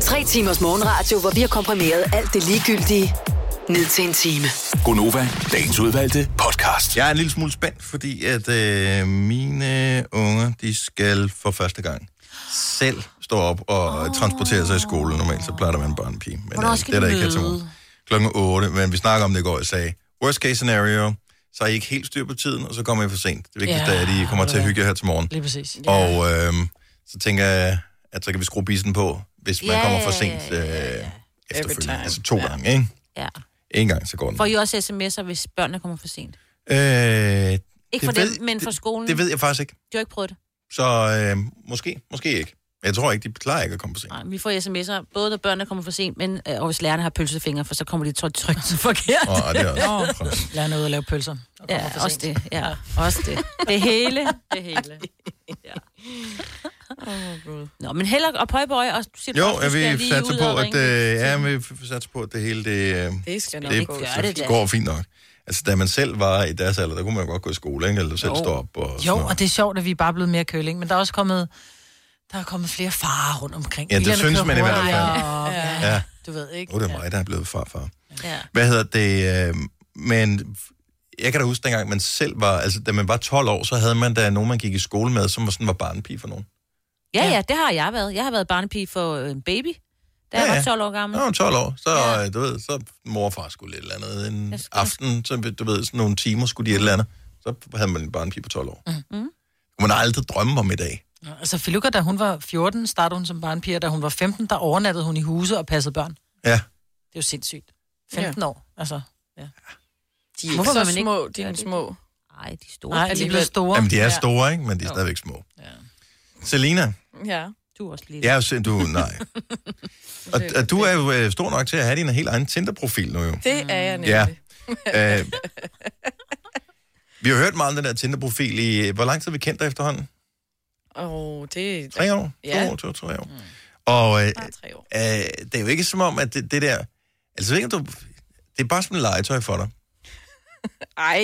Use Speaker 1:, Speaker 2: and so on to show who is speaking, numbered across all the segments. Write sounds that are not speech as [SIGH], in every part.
Speaker 1: Tre timers morgenradio, hvor vi har komprimeret alt det ligegyldige ned til en time.
Speaker 2: Gonova, dagens udvalgte podcast.
Speaker 3: Jeg er en lille smule spændt, fordi at øh, mine unger, de skal for første gang selv stå op og oh. transportere sig i skole. Normalt så plejer der at være en børnepige. Men øh,
Speaker 4: Hvornår skal
Speaker 3: det er
Speaker 4: de
Speaker 3: der ikke
Speaker 4: møde?
Speaker 3: til Klokken 8, men vi snakker om det i går, jeg sagde, worst case scenario, så er I ikke helt styr på tiden, og så kommer I for sent. Det vigtigste
Speaker 4: Ja,
Speaker 3: er, at I kommer
Speaker 4: ved
Speaker 3: til at
Speaker 4: du
Speaker 3: hygge jer her til morgen.
Speaker 4: Lige præcis.
Speaker 3: Ja. Og øh, så tænker jeg, at så kan vi skrue bisen på, hvis man
Speaker 4: Ja,
Speaker 3: kommer
Speaker 4: ja,
Speaker 3: for
Speaker 4: ja,
Speaker 3: sent
Speaker 4: ja,
Speaker 3: øh,
Speaker 4: ja,
Speaker 3: efterfølgende.
Speaker 5: time.
Speaker 3: Altså to
Speaker 5: Ja.
Speaker 3: gange, ikke?
Speaker 5: Ja.
Speaker 3: En gang, så går den.
Speaker 5: Får I også sms'er, hvis børnene kommer for sent?
Speaker 3: Øh,
Speaker 5: Ikke for
Speaker 3: det
Speaker 5: dem, men for skolen?
Speaker 3: Det, det ved jeg faktisk ikke.
Speaker 5: Du har ikke prøvet det?
Speaker 3: Så øh, måske, måske ikke. Jeg tror ikke, de klarer ikke at komme på scenen.
Speaker 5: Nej, vi får sms'er, både når børnene kommer for sent, men øh, og hvis lærerne har pølsefingre, for så kommer de trygt trygt [LAUGHS] forkert.
Speaker 3: Og, og det er også.
Speaker 4: Nå, lad hende ud og lave pølser. og kommer for
Speaker 5: Ja, også
Speaker 4: sent.
Speaker 5: det. Ja, også det. Det hele. Det hele. Ja. Nå, men heller og pøj, pøj, og du siger,
Speaker 3: Jo,
Speaker 5: også, du
Speaker 3: er
Speaker 5: skal
Speaker 3: vi
Speaker 5: lige
Speaker 3: satser
Speaker 5: ud
Speaker 3: på,
Speaker 5: og
Speaker 3: at,
Speaker 5: ringe.
Speaker 3: øh, ja, vi f- satser på, at det hele det, øh,
Speaker 6: Det skal nok
Speaker 3: det,
Speaker 6: gå.
Speaker 5: gør det da.
Speaker 3: går fint nok. Altså, da man selv var i deres alder, der kunne man jo godt gå i skole, ikke? Eller selv stå op og sådan
Speaker 4: Jo,
Speaker 3: noget.
Speaker 4: og det er sjovt, at vi er bare blevet mere køling, men der er også kommet, der er kommet flere farer rundt omkring.
Speaker 3: Ja, det
Speaker 4: Bilerne
Speaker 3: synes
Speaker 4: kører
Speaker 3: man i hvert fald.
Speaker 4: hurtigere, og- Ja.
Speaker 3: Ja.
Speaker 4: Du ved ikke.
Speaker 3: Nu er det mig, der er blevet farfar.
Speaker 5: Ja.
Speaker 3: Hvad hedder det? Øh, men jeg kan da huske, dengang man selv var... Altså, da man var 12 år, så havde man da nogen, man gik i skole med, som var sådan var barnepige for nogen.
Speaker 5: Ja, ja, det har jeg været. Jeg har været barnepige for øh, en baby, da
Speaker 3: Ja,
Speaker 5: jeg
Speaker 3: ja.
Speaker 5: var 12 år gammel.
Speaker 3: Når man var 12 år, så,
Speaker 5: Ja.
Speaker 3: ja. du ved, så mor og far skulle et eller andet. En
Speaker 5: Jeg skulle-
Speaker 3: aften, så, du ved, sådan nogle timer skulle de et eller andet. Så havde man en barnepige på 12 år. Mm. Man har aldrig drømme om i dag.
Speaker 4: Altså, Filuka, da hun var 14, startede hun som barnpige, og da hun var 15, der overnattede hun i huse og passede børn.
Speaker 3: Ja.
Speaker 4: Det er jo sindssygt. 15 ja. år, altså.
Speaker 6: De er
Speaker 5: Hvorfor
Speaker 6: ikke
Speaker 5: vil
Speaker 6: så
Speaker 5: man ikke
Speaker 6: små,
Speaker 5: gøre
Speaker 6: dine
Speaker 5: det?
Speaker 6: små.
Speaker 5: Nej, de er store.
Speaker 4: Nej, de er blevet store.
Speaker 3: Jamen, de er
Speaker 6: Ja.
Speaker 3: store, ikke? Men de er stadigvæk små. Ja. Selina,
Speaker 6: Ja.
Speaker 5: Du er også lige.
Speaker 3: jeg er jo sind- du... Nej. og, og du er jo øh, stor nok til at have din helt egen Tinder-profil nu, jo.
Speaker 6: Det er jeg nemlig.
Speaker 3: Ja. Øh, vi har hørt meget om den der Tinder-profil i... Hvor lang tid har vi kendt dig efterhånden?
Speaker 6: Og det
Speaker 3: Tre år?
Speaker 6: Ja.
Speaker 3: To år, to, tre år. Og øh,
Speaker 6: er tre år.
Speaker 3: øh, det er jo ikke som om, at det, det der... Altså, jeg ved ikke, om du... Det er bare som en legetøj for dig.
Speaker 6: Ej,
Speaker 3: Jo,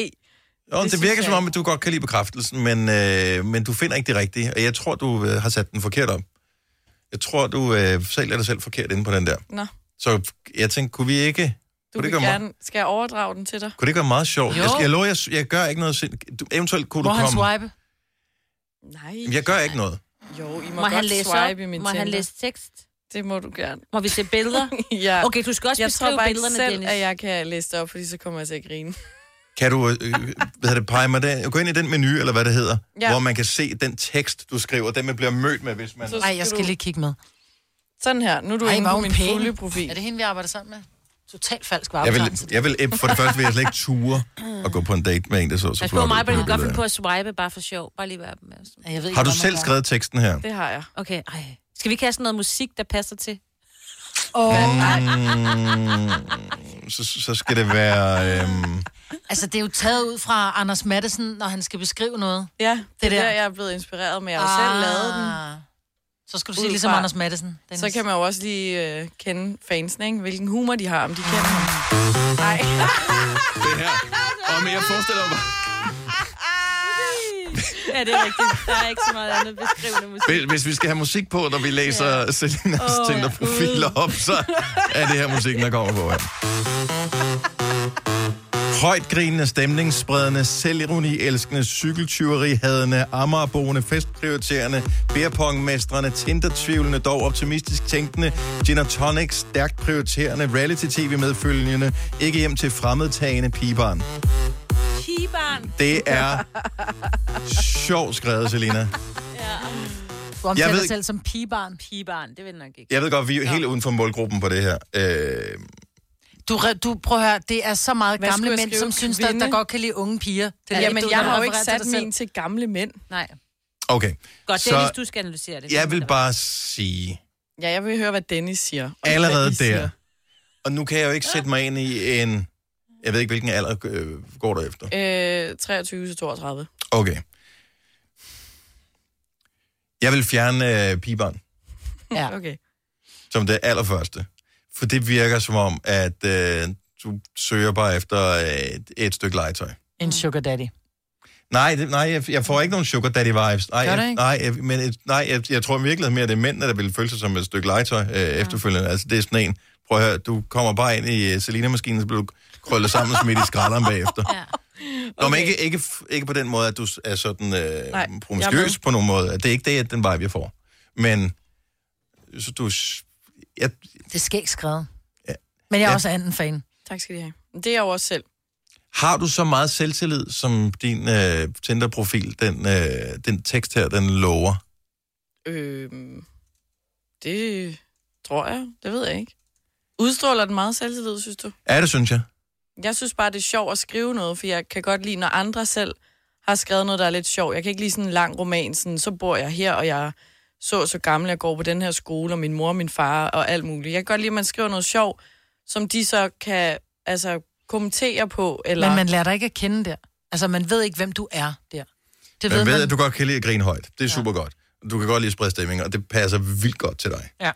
Speaker 3: det, det
Speaker 6: synes
Speaker 3: virker
Speaker 6: jeg
Speaker 3: som om, at du godt kan lide bekræftelsen, men, øh, men du finder ikke det rigtige. Og jeg tror, du øh, har sat den forkert op. Jeg tror, du øh, sælger dig selv forkert inde på den der.
Speaker 6: nå.
Speaker 3: Så jeg tænkte, kunne vi ikke...
Speaker 6: Du
Speaker 3: Kunne det
Speaker 6: vil
Speaker 3: gøre mig-
Speaker 6: gerne... Skal jeg overdrage den til dig?
Speaker 3: Kunne det ikke være meget sjovt?
Speaker 4: Jo.
Speaker 3: Jeg, skal, jeg lover, jeg, jeg gør ikke noget... sind- Du, eventuelt kunne
Speaker 4: Må
Speaker 3: du
Speaker 4: han
Speaker 3: komme...
Speaker 4: swipe?
Speaker 6: Nej.
Speaker 3: Jamen, Jeg gør ikke noget.
Speaker 6: Jo, I må,
Speaker 5: Må han
Speaker 6: godt
Speaker 5: læse op?
Speaker 6: swipe i min
Speaker 5: Må
Speaker 6: Tinder.
Speaker 5: han læse tekst?
Speaker 6: Det må du gerne. [LAUGHS]
Speaker 5: Må vi se billeder?
Speaker 6: ja.
Speaker 5: Okay, du skal også
Speaker 6: jeg
Speaker 5: beskrive
Speaker 6: tror bare ikke
Speaker 5: billederne,
Speaker 6: selv,
Speaker 5: Dennis.
Speaker 6: at jeg kan læse det op, fordi så kommer jeg til at grine.
Speaker 3: Kan du øh, øh, hvad hedder det, pege mig der? Gå ind i den menu, eller hvad det hedder, ja.
Speaker 6: Ja.
Speaker 3: hvor man kan se den tekst, du skriver, den man bliver mødt med, hvis man...
Speaker 6: Så-
Speaker 4: Nej, jeg skal
Speaker 6: Skal du-
Speaker 4: lige kigge med.
Speaker 6: Sådan her. Nu er du
Speaker 4: Ej,
Speaker 6: inde
Speaker 4: var
Speaker 6: på
Speaker 4: hun
Speaker 6: min
Speaker 4: pæn.
Speaker 6: fulde
Speaker 4: Er
Speaker 6: profil.
Speaker 4: det hende, vi arbejder sammen med? Totalt falsk
Speaker 3: Jeg
Speaker 4: varebetegnelse.
Speaker 3: vil, jeg vil, eh, for det første vil jeg slet ikke ture at gå på en date med en, der så så
Speaker 5: Pas på
Speaker 3: flot
Speaker 5: mig,
Speaker 3: ud.
Speaker 5: men du kan godt
Speaker 3: Det
Speaker 5: finde
Speaker 3: der.
Speaker 5: på at swipe bare for sjov. Bare lige være opmærksom.
Speaker 4: Ja, jeg ved ikke,
Speaker 3: Har du
Speaker 4: hvad man
Speaker 3: selv
Speaker 4: gør.
Speaker 3: skrevet teksten her?
Speaker 6: Det har jeg.
Speaker 5: Okay, ej. Skal vi ikke have sådan noget musik, der passer til?
Speaker 3: Så, så skal det være... Øhm,
Speaker 4: Altså, det er jo taget ud fra Anders Madsen, når han skal beskrive noget.
Speaker 6: Ja, det,
Speaker 4: Det
Speaker 6: det er
Speaker 4: der.
Speaker 6: der, jeg er blevet inspireret med. Jeg har jo selv lavet den.
Speaker 4: Så skal du
Speaker 6: Ud
Speaker 4: sige ligesom
Speaker 6: fra-
Speaker 4: Anders Madsen.
Speaker 6: Så kan man jo også lige øh, kende fansene, ikke? hvilken humor de har, om de kender ham. Nej,
Speaker 7: det her. Og men jeg forestiller mig...
Speaker 5: Ja, det er rigtigt. Der er ikke så meget andet beskrivende musik.
Speaker 3: hvis- hvis vi skal have musik på, når vi læser ja. Selinas oh, Tinder-profiler op, så er det her musikken, der kommer på her. Højt grinende, stemningsspredende, selvironi, elskende, cykeltyveri, hadende, amagerboende, festprioriterende, beerpongmestrende, tindertvivlende, dog optimistisk tænkende, gin and tonic, stærkt prioriterende, reality-tv medfølgende, ikke hjem til fremmedtagende pigebarn.
Speaker 5: Pigebarn.
Speaker 3: Det [LAUGHS] er sjovt skrevet, Selina.
Speaker 4: Du omtaler
Speaker 3: Jeg ved
Speaker 4: dig selv som pigebarn.
Speaker 5: Pigebarn, det vil jeg nok ikke.
Speaker 3: Jeg ved godt, vi er jo helt uden for målgruppen på det her. Øh,
Speaker 4: Du, re- du prøv at høre, det er så meget
Speaker 6: Hvad
Speaker 4: gamle
Speaker 6: skulle jeg
Speaker 4: mænd,
Speaker 6: skrive?
Speaker 4: som synes, der, der
Speaker 6: Kvinde?
Speaker 4: godt kan lide unge piger. Det er
Speaker 6: ja,
Speaker 4: ikke
Speaker 6: men
Speaker 4: du,
Speaker 6: jeg
Speaker 4: der
Speaker 6: har jo ikke
Speaker 4: refererer
Speaker 6: sat
Speaker 4: til dig selv.
Speaker 6: min til gamle mænd.
Speaker 5: Nej.
Speaker 3: okay.
Speaker 5: Godt,
Speaker 3: Så-
Speaker 5: det er, hvis du skal analysere det.
Speaker 3: Jeg vil bare sige,
Speaker 6: Ja, jeg vil høre, hvad Dennis siger. og
Speaker 3: allerede
Speaker 6: hvad I siger.
Speaker 3: der, og nu kan jeg jo ikke sætte mig ind i en, jeg ved ikke, hvilken alder øh, går der efter.
Speaker 6: Øh, 23 til 32.
Speaker 3: Okay. Jeg vil fjerne øh, pigebarn
Speaker 4: Ja.
Speaker 6: Okay.
Speaker 3: som det allerførste, for det virker som om, at øh, du søger bare efter øh, et stykke legetøj.
Speaker 4: En sugar daddy.
Speaker 3: Nej, det, nej jeg, jeg får ikke nogen sugar daddy vibes. Nej,
Speaker 6: Gør du
Speaker 3: jeg,
Speaker 6: ikke?
Speaker 3: nej, jeg, men, et- nej jeg, jeg tror virkelig mere, at det er mændene, der vil føle sig som et stykke legetøj øh, efterfølgende. Altså, det er sådan en, prøv at høre, du kommer bare ind i uh, Selina-maskinen, så bliver du krøllet sammen og smidt i
Speaker 6: [LAUGHS]
Speaker 3: skralderen bagefter.
Speaker 5: Ja.
Speaker 3: Nå, men ikke, ikke, f- ikke på den måde, at du s- er sådan øh,
Speaker 6: Nej, jeg er
Speaker 3: promiskuøs
Speaker 6: med.
Speaker 3: på nogen måde. Det er ikke det, at den vibe, jeg får. Men så du... s- Jeg,
Speaker 4: Det skal ikke skrevet. Men jeg er
Speaker 3: Ja.
Speaker 4: også anden fan.
Speaker 6: Tak skal I have. Men Det er jeg jo også selv.
Speaker 3: har du så meget selvtillid, som din øh, Tinder-profil, den, øh, den tekst her, den lover?
Speaker 6: Øhm, det tror jeg. Det ved jeg ikke. Udstråler den meget selvtillid, synes du?
Speaker 3: Er det, synes jeg?
Speaker 6: Jeg synes bare, det er sjovt at skrive noget, for jeg kan godt lide, når andre selv har skrevet noget, der er lidt sjovt. Jeg kan ikke lide sådan en lang roman, sådan, så bor jeg her, og jeg er så og så gammel, jeg går på den her skole, og min mor og min far og alt muligt. Jeg kan godt lide, at man skriver noget sjovt, som de så kan altså, kommentere på. Eller...
Speaker 4: Men man lærer dig ikke at kende der. Altså, man ved ikke, hvem du er der. Det
Speaker 3: Man ved,
Speaker 4: man.
Speaker 3: at du godt kan lide at grine højt. Det er ja. super godt. Du kan godt lide at sprede stemning, og det passer vildt godt til dig.
Speaker 4: Ja.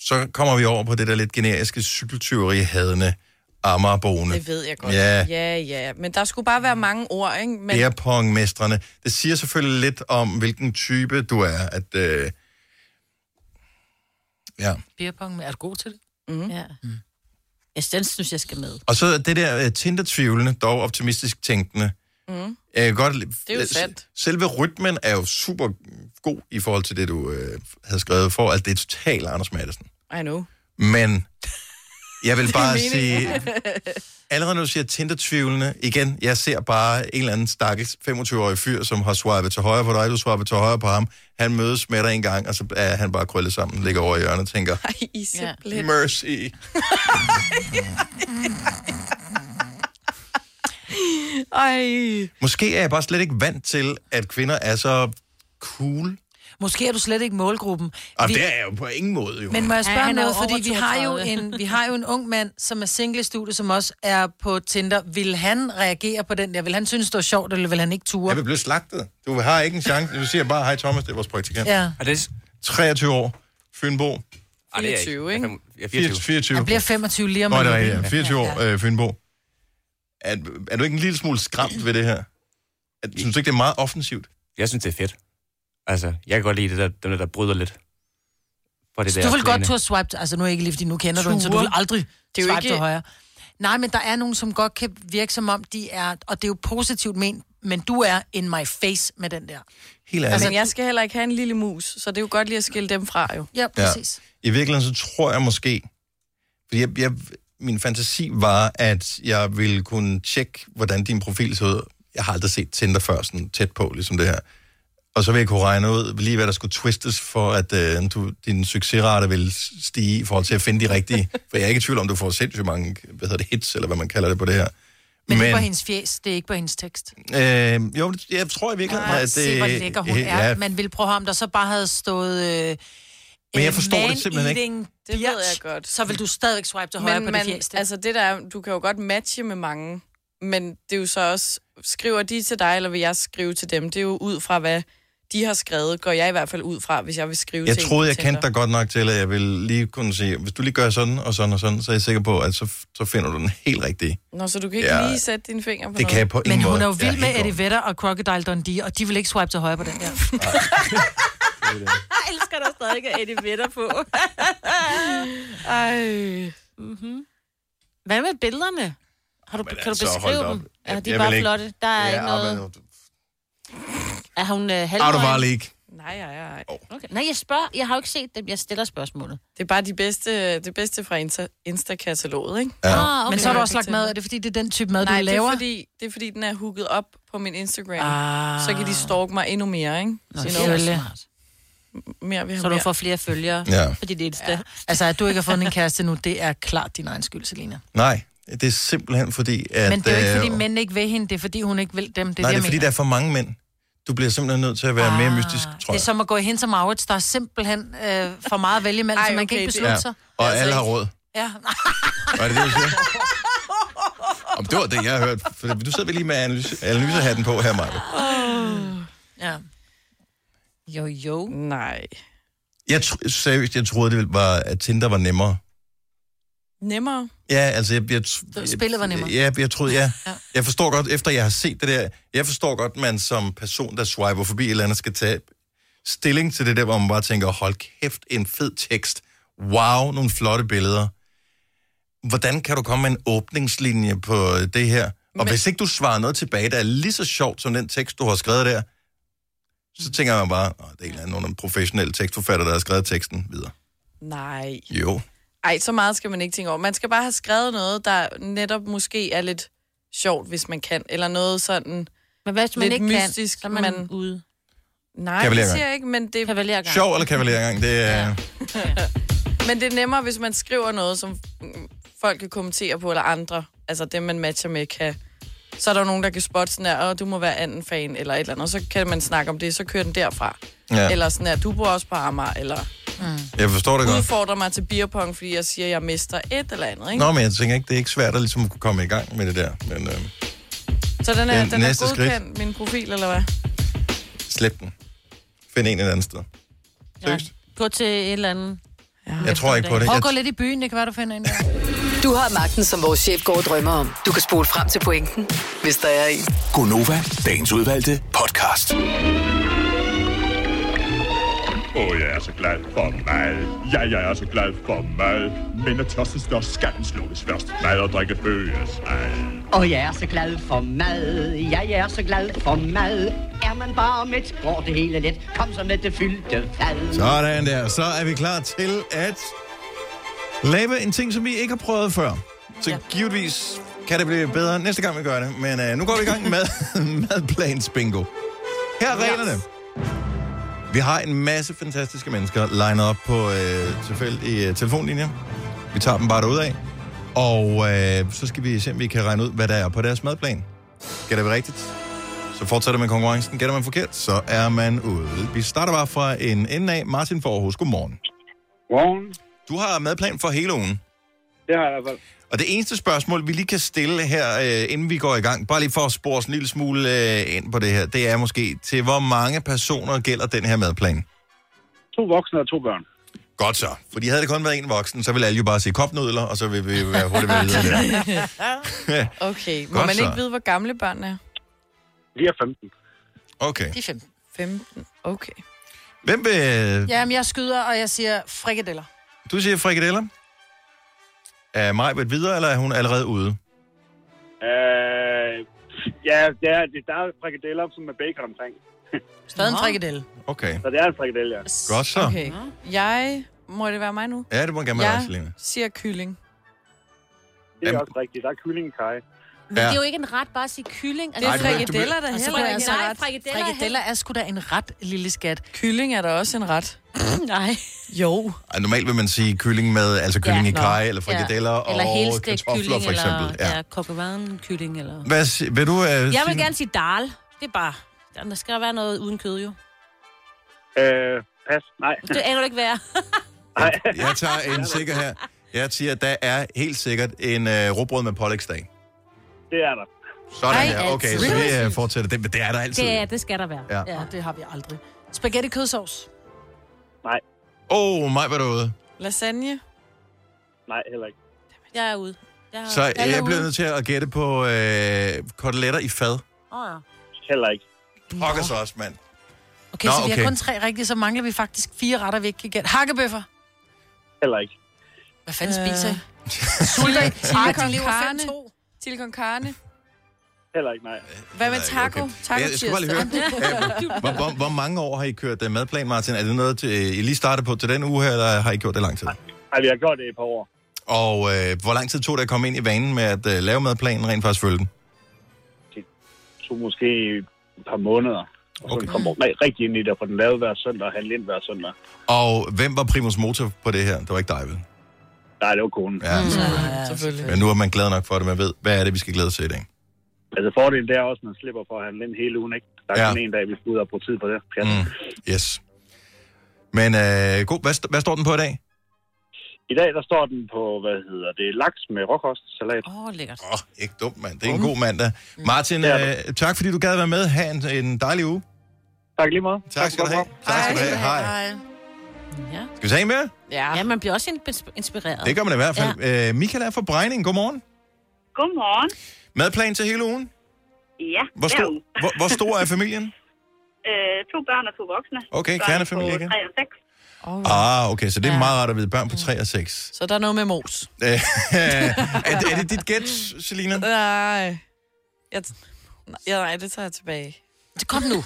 Speaker 3: Så kommer vi over på det der lidt generiske cykeltyveri-hadende Amagerboende.
Speaker 6: Det ved jeg godt.
Speaker 3: Ja.
Speaker 6: ja, ja. Men der skulle bare være mange ord, ikke? Men
Speaker 3: Bærepongmestrene. Det siger selvfølgelig lidt om, hvilken type du er. At, øh... ja.
Speaker 4: Beerpong, er du god til det?
Speaker 5: Ja. Jeg den synes, jeg skal med.
Speaker 3: Og så det der øh, Tinder-tvivlende, dog optimistisk tænkende. Mm. Jeg kan godt, det
Speaker 6: er jo sandt.
Speaker 3: Selve rytmen er jo super god i forhold til det, du øh, havde skrevet for. Altså, det er totalt Anders Madsen.
Speaker 6: I know. [LAUGHS]
Speaker 3: Men jeg vil bare sige... Allerede når du siger Tinder-tvivlende, igen, jeg ser bare en eller anden stakkels 25-årig fyr, som har swipet til højre på dig, du swipet til højre på ham. Han mødes med dig en gang, og så er han bare krøllet sammen, ligger over i hjørnet og tænker,
Speaker 6: Ej, I er simpelthen... Ja.
Speaker 3: mercy.
Speaker 6: Ej.
Speaker 3: Måske er jeg bare slet ikke vant til, at kvinder er så cool.
Speaker 4: Måske er du slet ikke målgruppen.
Speaker 3: Og
Speaker 4: Vi-
Speaker 3: det er jeg jo på ingen måde, jo.
Speaker 4: Men må jeg spørge
Speaker 5: Ja,
Speaker 4: ja,
Speaker 5: han er
Speaker 4: noget,
Speaker 5: jo over
Speaker 4: fordi vi har, jo
Speaker 5: 32.
Speaker 4: en, vi har jo en ung mand, som er single i studiet, som også er på Tinder. Vil han reagere på den der? Vil han synes, det var sjovt, eller vil han ikke ture?
Speaker 3: Jeg vil blive slagtet. Du har ikke en chance. Du siger bare, hej Thomas, det er vores praktikant.
Speaker 4: Ja.
Speaker 7: Er det...
Speaker 3: 23 år, Fynbo.
Speaker 7: Ej, det er jeg
Speaker 6: 24, ikke?
Speaker 7: Jeg er 24.
Speaker 3: 24.
Speaker 4: Han bliver 25 lige om
Speaker 3: Nå, det er
Speaker 4: lidt,
Speaker 3: rigtigt,
Speaker 4: ikke?
Speaker 3: ja. 24 år, øh, Fynbo. Er, er du ikke en lille smule skræmt ved det her? Er, synes du ikke, det er meget offensivt?
Speaker 7: Jeg synes, det er fedt. Altså, jeg kan godt lide det der, dem der, der bryder lidt. For det
Speaker 4: Så
Speaker 7: der
Speaker 4: du vil
Speaker 7: plane.
Speaker 4: godt turde swipe, til- altså nu er ikke lige, fordi nu kender du hende, så du
Speaker 6: Ture?
Speaker 4: vil aldrig
Speaker 6: er jo
Speaker 4: swipe
Speaker 6: ikke-
Speaker 4: til højre. Nej, men der er nogen, som godt kan virke som om, de er, og det er jo positivt ment, men du er in my face med den der.
Speaker 3: Helt ærligt.
Speaker 6: Men jeg skal heller ikke have en lille mus, så det er jo godt lige at skille dem fra, jo.
Speaker 4: Ja, præcis.
Speaker 3: I virkeligheden så tror jeg måske, fordi jeg, jeg, min fantasi var, at jeg ville kunne tjekke, hvordan din profil så ud. Jeg har aldrig set Tinder før sådan tæt på, ligesom det her. Og så ville jeg kunne regne ud lige, hvad der skulle twistes for, at øh, du, din succesrate ville stige i forhold til at finde de
Speaker 4: [LAUGHS]
Speaker 3: rigtige. For jeg er ikke i tvivl om, du får sindssygt mange hvad hedder det, hits, eller hvad man kalder det på det her.
Speaker 4: Men, men det er på hendes fjes, det er ikke på hendes tekst.
Speaker 3: øh, jo, det- jeg tror i virkeligheden,
Speaker 4: Nej,
Speaker 3: at det...
Speaker 4: se, hvor lækker hun
Speaker 3: øh,
Speaker 4: er. Man ville prøve ham, der så bare havde stået... Øh,
Speaker 3: Men jeg forstår det simpelthen ikke.
Speaker 6: Det ved jeg godt.
Speaker 4: Så vil du stadigvæk swipe til højre
Speaker 6: Men
Speaker 4: på
Speaker 6: man,
Speaker 4: det fjeste. Altså,
Speaker 6: altså det der, er- du kan jo godt matche med mange, men det er jo så også, skriver de til dig, eller vil jeg skrive til dem? Det er jo ud fra, hvad de har skrevet, går jeg i hvert fald ud fra, hvis jeg vil skrive
Speaker 3: Jeg
Speaker 6: til en
Speaker 3: troede,
Speaker 6: på
Speaker 3: jeg
Speaker 6: Tinder.
Speaker 3: kendte dig godt nok til, at jeg ville lige kunne sige, hvis du lige gør sådan og sådan og sådan, så er jeg sikker på, at så, så finder du den helt rigtige.
Speaker 6: Nå, så du kan ikke
Speaker 3: Ja.
Speaker 6: ja, lige sætte dine fingre på
Speaker 3: Det
Speaker 6: noget?
Speaker 3: kan jeg på ingen
Speaker 4: men
Speaker 3: måde.
Speaker 4: hun er jo
Speaker 3: Jeg
Speaker 4: vild med
Speaker 3: helt
Speaker 4: Eddie Vedder og Crocodile Dundee, og de vil ikke swipe til højre på den der.
Speaker 5: [LAUGHS] Jeg elsker dig stadig at Eddie Vedder på.
Speaker 6: Ej.
Speaker 5: Hvad med billederne? Har du,
Speaker 3: Men
Speaker 5: kan
Speaker 3: altså,
Speaker 5: du beskrive
Speaker 3: hold da op.
Speaker 5: dem? Ja,
Speaker 3: Jeg-
Speaker 5: de er
Speaker 3: jeg
Speaker 5: bare
Speaker 3: vil ikke-
Speaker 5: flotte. Der er
Speaker 3: Ja,
Speaker 5: ikke
Speaker 3: men-
Speaker 5: noget... Er hun uh,
Speaker 3: Har du bare
Speaker 5: halvøjen?
Speaker 3: ikke?
Speaker 6: Nej, nej, nej.
Speaker 5: Okay. Nej, jeg spørger. Jeg har jo ikke set dem. Jeg stiller spørgsmålet.
Speaker 6: Det er bare de bedste, det bedste fra Insta- Insta-kataloget, ikke?
Speaker 3: Ja.
Speaker 5: Ah,
Speaker 4: Okay. Men så har du også lagt mad, er det fordi, det er den type mad,
Speaker 6: Nej,
Speaker 4: du
Speaker 6: det er,
Speaker 4: laver?
Speaker 6: fordi, det er fordi, den er hooket op på min Instagram.
Speaker 4: Ah.
Speaker 6: Så kan de stalke mig endnu mere, ikke? Nå,
Speaker 4: det
Speaker 6: noget, altså,
Speaker 4: selvfølgelig.
Speaker 6: mere vi har
Speaker 5: Så du
Speaker 6: mere.
Speaker 5: får flere følgere
Speaker 3: Ja.
Speaker 5: på dit Insta. Ja.
Speaker 4: Altså, at du ikke har fundet en kæreste nu, det er klart din egen skyld, Selina.
Speaker 3: Nej, det er simpelthen fordi, at...
Speaker 4: Men det er jo ikke,
Speaker 3: øh,
Speaker 4: fordi mænd ikke vil hende, det er fordi, hun ikke vil dem. Det er
Speaker 3: Nej,
Speaker 4: det,
Speaker 3: det
Speaker 4: jeg
Speaker 3: er fordi, der
Speaker 4: mener.
Speaker 3: er for mange mænd. Du bliver simpelthen nødt til at være mere mystisk, tror
Speaker 4: Ah, Det er
Speaker 3: jeg.
Speaker 4: som at gå i hen som Maurits, der er simpelthen øh, for meget at vælge imellem,
Speaker 6: Ej,
Speaker 4: så man kan
Speaker 6: okay,
Speaker 4: ikke
Speaker 6: det-
Speaker 4: beslutte sig.
Speaker 3: Og alle har råd.
Speaker 4: Ja.
Speaker 3: Var det det, du siger? Om det var det, jeg hørte. For du sidder vel lige med analyse, analysehatten på her, Maja.
Speaker 4: ja.
Speaker 5: Jo, jo.
Speaker 6: Nej.
Speaker 3: Jeg tr- seriøst, jeg troede, det var, at Tinder var nemmere.
Speaker 6: nemmere.
Speaker 3: Ja, altså, jeg, jeg, jeg,
Speaker 4: Spillet var nemmere.
Speaker 3: Ja, jeg troede, ja. Jeg forstår godt, efter jeg har set det der, jeg forstår godt, man som person, der swiper forbi et eller andet, skal tage stilling til det der, hvor man bare tænker, hold kæft, en fed tekst. Wow, nogle flotte billeder. Hvordan kan du komme med en åbningslinje på øh, det her? Og Men... hvis ikke du svarer noget tilbage, der er lige så sjovt som den tekst, du har skrevet der, så tænker man bare, "Nå, det er en eller anden nogen professionel tekstforfatter, der har skrevet teksten videre.
Speaker 6: Nej.
Speaker 3: Jo.
Speaker 6: Ej, så meget skal man ikke tænke over. Man skal bare have skrevet noget, der netop måske er lidt sjovt, hvis man kan. Eller noget sådan...
Speaker 5: Men hvis man
Speaker 6: Lidt
Speaker 5: ikke
Speaker 6: mystisk,
Speaker 5: kan, så er man
Speaker 6: men-
Speaker 5: ude.
Speaker 6: Nej, det
Speaker 3: Kavalergang.
Speaker 6: siger jeg ikke, men det,
Speaker 5: Kavalergang.
Speaker 3: Sjov eller kavalergang, det øh, er...
Speaker 6: men det er nemmere, hvis man skriver noget, som mm, folk kan kommentere på, eller andre. Altså det, man matcher med, kan... Så er der jo nogen, der kan spotte sådan her, "Åh, du må være anden fan, eller et eller andet. Og så kan man snakke om det, så kører den derfra.
Speaker 3: Ja.
Speaker 6: Ja. Eller sådan her, du bor også på Amager, eller
Speaker 3: Jeg forstår det godt.
Speaker 6: udfordrer mig til beerpong, fordi jeg siger, at jeg mister et eller andet, ikke?
Speaker 3: Nå, men jeg tænker ikke, det er ikke svært at ligesom kunne komme i gang med det der. Men øh,
Speaker 6: Så den er,
Speaker 3: Ja,
Speaker 6: ja, den
Speaker 3: næste
Speaker 6: er godkendt, min profil, eller hvad?
Speaker 3: slip den. Find en et andet sted. Seriøst?
Speaker 5: Gå til et eller andet.
Speaker 3: Jeg tror ikke på det.
Speaker 4: Prøv
Speaker 3: Jeg,
Speaker 4: at gå lidt i byen, det kan være, du finder en der.
Speaker 1: Du har magten, som vores chef går og drømmer om. Du kan spole frem til pointen, hvis der er en.
Speaker 2: Gonova, dagens udvalgte podcast.
Speaker 8: Åh, oh, jeg er så glad for mad. Ja, jeg er så glad for mad. Men når tørsten størst, skal den slukkes først. Mad og drikke følges ad.
Speaker 9: Og jeg er så glad for mad, ja, jeg er så glad for mad. Er man bare med, går det hele let. Kom så med det fyldte fad.
Speaker 3: sådan der. Så er vi klar til at lave en ting, som vi ikke har prøvet før. Så ja. givetvis kan det blive bedre næste gang, vi gør det. Men øh, nu går vi i gang med [LAUGHS] madplans bingo. Her er reglerne. Vi har en masse fantastiske mennesker lined op på øh, tilfældige øh, telefonlinjer. Vi tager dem bare derudad. Og øh, så skal vi se, om vi kan regne ud, hvad der er på deres madplan. Skal det være rigtigt? Så fortsætter man konkurrencen. Gætter man forkert, så er man ude. Vi starter bare fra en ende af. Martin for Aarhus, godmorgen.
Speaker 10: Morgen.
Speaker 3: Du har madplan for hele ugen.
Speaker 10: Det har jeg i hvert fald.
Speaker 3: Og det eneste spørgsmål, vi lige kan stille her, øh, inden vi går i gang, bare lige for at spore os en lille smule øh, ind på det her, det er måske, til hvor mange personer gælder den her madplan?
Speaker 10: To voksne og to børn.
Speaker 3: Godt så. Fordi havde det kun været en voksen, så ville alle jo bare se kopnudler, og så ville vi være hurtigt videre der.
Speaker 6: Okay, må
Speaker 3: Godt
Speaker 6: man
Speaker 3: så.
Speaker 6: ikke vide, hvor gamle børnene er?
Speaker 10: De er 15.
Speaker 3: Okay.
Speaker 4: De er fem.
Speaker 6: 15, okay.
Speaker 3: Hvem vil...
Speaker 4: Jamen, jeg skyder, og jeg siger frikadeller.
Speaker 3: Du siger frikadeller? Er Maj videre, eller er hun allerede ude?
Speaker 10: Øh, ja, det er, det, der er frikadeller, som med bacon omkring.
Speaker 4: Stadig en frikadelle.
Speaker 3: Okay.
Speaker 10: Så det er en frikadelle, ja.
Speaker 3: Godt så.
Speaker 6: Okay. Jeg... Må det være mig nu?
Speaker 3: Ja, det må gerne være ja.
Speaker 6: Jeg
Speaker 3: også, Lene.
Speaker 6: siger kylling.
Speaker 10: Det er
Speaker 3: Jamen.
Speaker 10: også rigtigt. Der er kyllingekaj.
Speaker 5: Men
Speaker 3: Ja.
Speaker 5: det er jo ikke en ret bare at sige kylling. Altså,
Speaker 6: Det er
Speaker 3: Ej, du- du-
Speaker 6: frikadeller, der
Speaker 4: Og så
Speaker 6: heller
Speaker 4: går
Speaker 6: ikke
Speaker 4: jeg
Speaker 6: er
Speaker 4: så
Speaker 6: en
Speaker 5: Nej,
Speaker 6: ret.
Speaker 5: frikadeller,
Speaker 4: Frikadeller er sgu da en ret lille skat.
Speaker 6: Kylling er der også en ret.
Speaker 5: [CLEARS THROAT] Nej.
Speaker 6: Jo.
Speaker 3: Ej, normalt vil man sige kylling med, altså kylling ja, i
Speaker 5: nå.
Speaker 3: kaj, eller frikadeller ja.
Speaker 5: eller
Speaker 3: og
Speaker 5: helstegt
Speaker 3: kartofler,
Speaker 5: kylling,
Speaker 3: for eksempel.
Speaker 5: Eller,
Speaker 3: Ja.
Speaker 5: ja, kokkevaren kylling, eller...
Speaker 3: Hvad, si- vil du... Øh,
Speaker 5: Jeg vil gerne sige dal. Det er bare... Der skal være noget uden kød, jo.
Speaker 10: Øh, pas. Nej.
Speaker 5: Det aner du ikke, hvad er.
Speaker 3: Jeg tager en sikker her. Jeg siger, at der er helt sikkert en øh, råbrød med pålægsdag.
Speaker 10: Det er der.
Speaker 3: Sådan
Speaker 5: Ej,
Speaker 3: her. Okay,
Speaker 5: altid.
Speaker 3: så vi øh, fortsætter. Det, men det er der altid.
Speaker 5: [LAUGHS] Det, er- det skal der være.
Speaker 3: Ja.
Speaker 4: Ja, det har vi aldrig. Spaghetti kødsovs.
Speaker 3: Åh, oh, mig var derude.
Speaker 6: Lasagne.
Speaker 10: Nej, heller ikke.
Speaker 5: Jeg er ude. Jeg er...
Speaker 3: Så øh, jeg
Speaker 5: ude.
Speaker 3: bliver nødt til at gætte på øh, koteletter i fad.
Speaker 5: Åh, ja.
Speaker 10: Heller ikke.
Speaker 3: Pokker så også, mand.
Speaker 4: Okay,
Speaker 3: Nå,
Speaker 4: Nå, så vi
Speaker 3: okay.
Speaker 4: har kun tre rigtige, så mangler vi faktisk fire retter, vi ikke kan gætte. Hakkebøffer.
Speaker 10: Heller ikke.
Speaker 4: Hvad fanden
Speaker 6: Øh.
Speaker 4: spiser I? Sulter I? Ej, de lever
Speaker 6: carne.
Speaker 4: 5-2.
Speaker 6: Chili con carne.
Speaker 10: Heller ikke, nej.
Speaker 6: Hvad med
Speaker 3: Nej,
Speaker 6: taco?
Speaker 3: okay.
Speaker 6: Taco
Speaker 3: Jeg skal bare lige høre, øh, hvor, hvor, hvor mange år har I kørt øh, madplan, Martin? Er det noget, til, øh, I lige startede på til den uge her, eller har I gjort det lang tid?
Speaker 10: Ej, vi har gjort det i et par år.
Speaker 3: Og øh, hvor lang tid tog det at komme ind i vanen med at øh, lave madplanen, rent faktisk følge den?
Speaker 10: To måske et par måneder. Og så
Speaker 3: Okay.
Speaker 10: kommer ri- rigtig ind i det, og få den lavet hver søndag og handle ind hver søndag.
Speaker 3: Og hvem var primus motor på det her? Det var ikke dig, vel?
Speaker 10: Nej, det var konen.
Speaker 3: Ja, mm.
Speaker 6: Ja, selvfølgelig.
Speaker 3: Men nu er man glad nok for det, man ved, hvad er det, vi skal glæde os til i dag.
Speaker 10: Altså fordelen det er også, at man slipper for at handle ind hele ugen, ikke? Der er
Speaker 3: Ja.
Speaker 10: ja. kun en dag, vi skal ud og bruge tid på det. Ja.
Speaker 3: Mm.
Speaker 10: Mm.
Speaker 3: Yes. Men øh, god, hvad, st- hvad står den på i dag?
Speaker 10: I dag, der står den på, hvad hedder det, laks med råkostsalat.
Speaker 5: Åh, lækkert.
Speaker 3: Åh, oh, ikke dumt, mand. Det er en god mandag. Martin,
Speaker 10: Det er
Speaker 3: øh, tak fordi du gad være med. Ha' en, en dejlig uge.
Speaker 10: Tak lige meget.
Speaker 3: Tak skal du
Speaker 10: for
Speaker 3: have.
Speaker 10: godt program.
Speaker 3: Tak skal du have. Hej.
Speaker 5: Ja.
Speaker 3: Skal vi tage en mere?
Speaker 6: Ja.
Speaker 5: ja, man bliver også insp- inspireret.
Speaker 3: Det gør man i hvert fald. Ja. Øh, Michael er fra Brejning. Godmorgen.
Speaker 11: Godmorgen.
Speaker 3: Madplan til hele ugen.
Speaker 11: Ja,
Speaker 3: Hvor
Speaker 11: hver
Speaker 3: stor,
Speaker 11: uge.
Speaker 3: hvor, hvor stor er familien?
Speaker 11: [LAUGHS] Øh, to børn og to voksne.
Speaker 3: Okay,
Speaker 11: børn
Speaker 3: kernefamilie
Speaker 11: på
Speaker 3: igen.
Speaker 11: Tre og seks.
Speaker 3: Ah, okay, så det er ja. meget rart at vide. Børn på 3 og
Speaker 11: [LAUGHS]
Speaker 3: 6.
Speaker 6: Så der er noget med mos.
Speaker 3: Øh, er, det- er det dit gæt, Selina?
Speaker 6: Nej. Jeg t- nej, ja, nej, det tager jeg tilbage.
Speaker 4: Kom [LAUGHS] nu.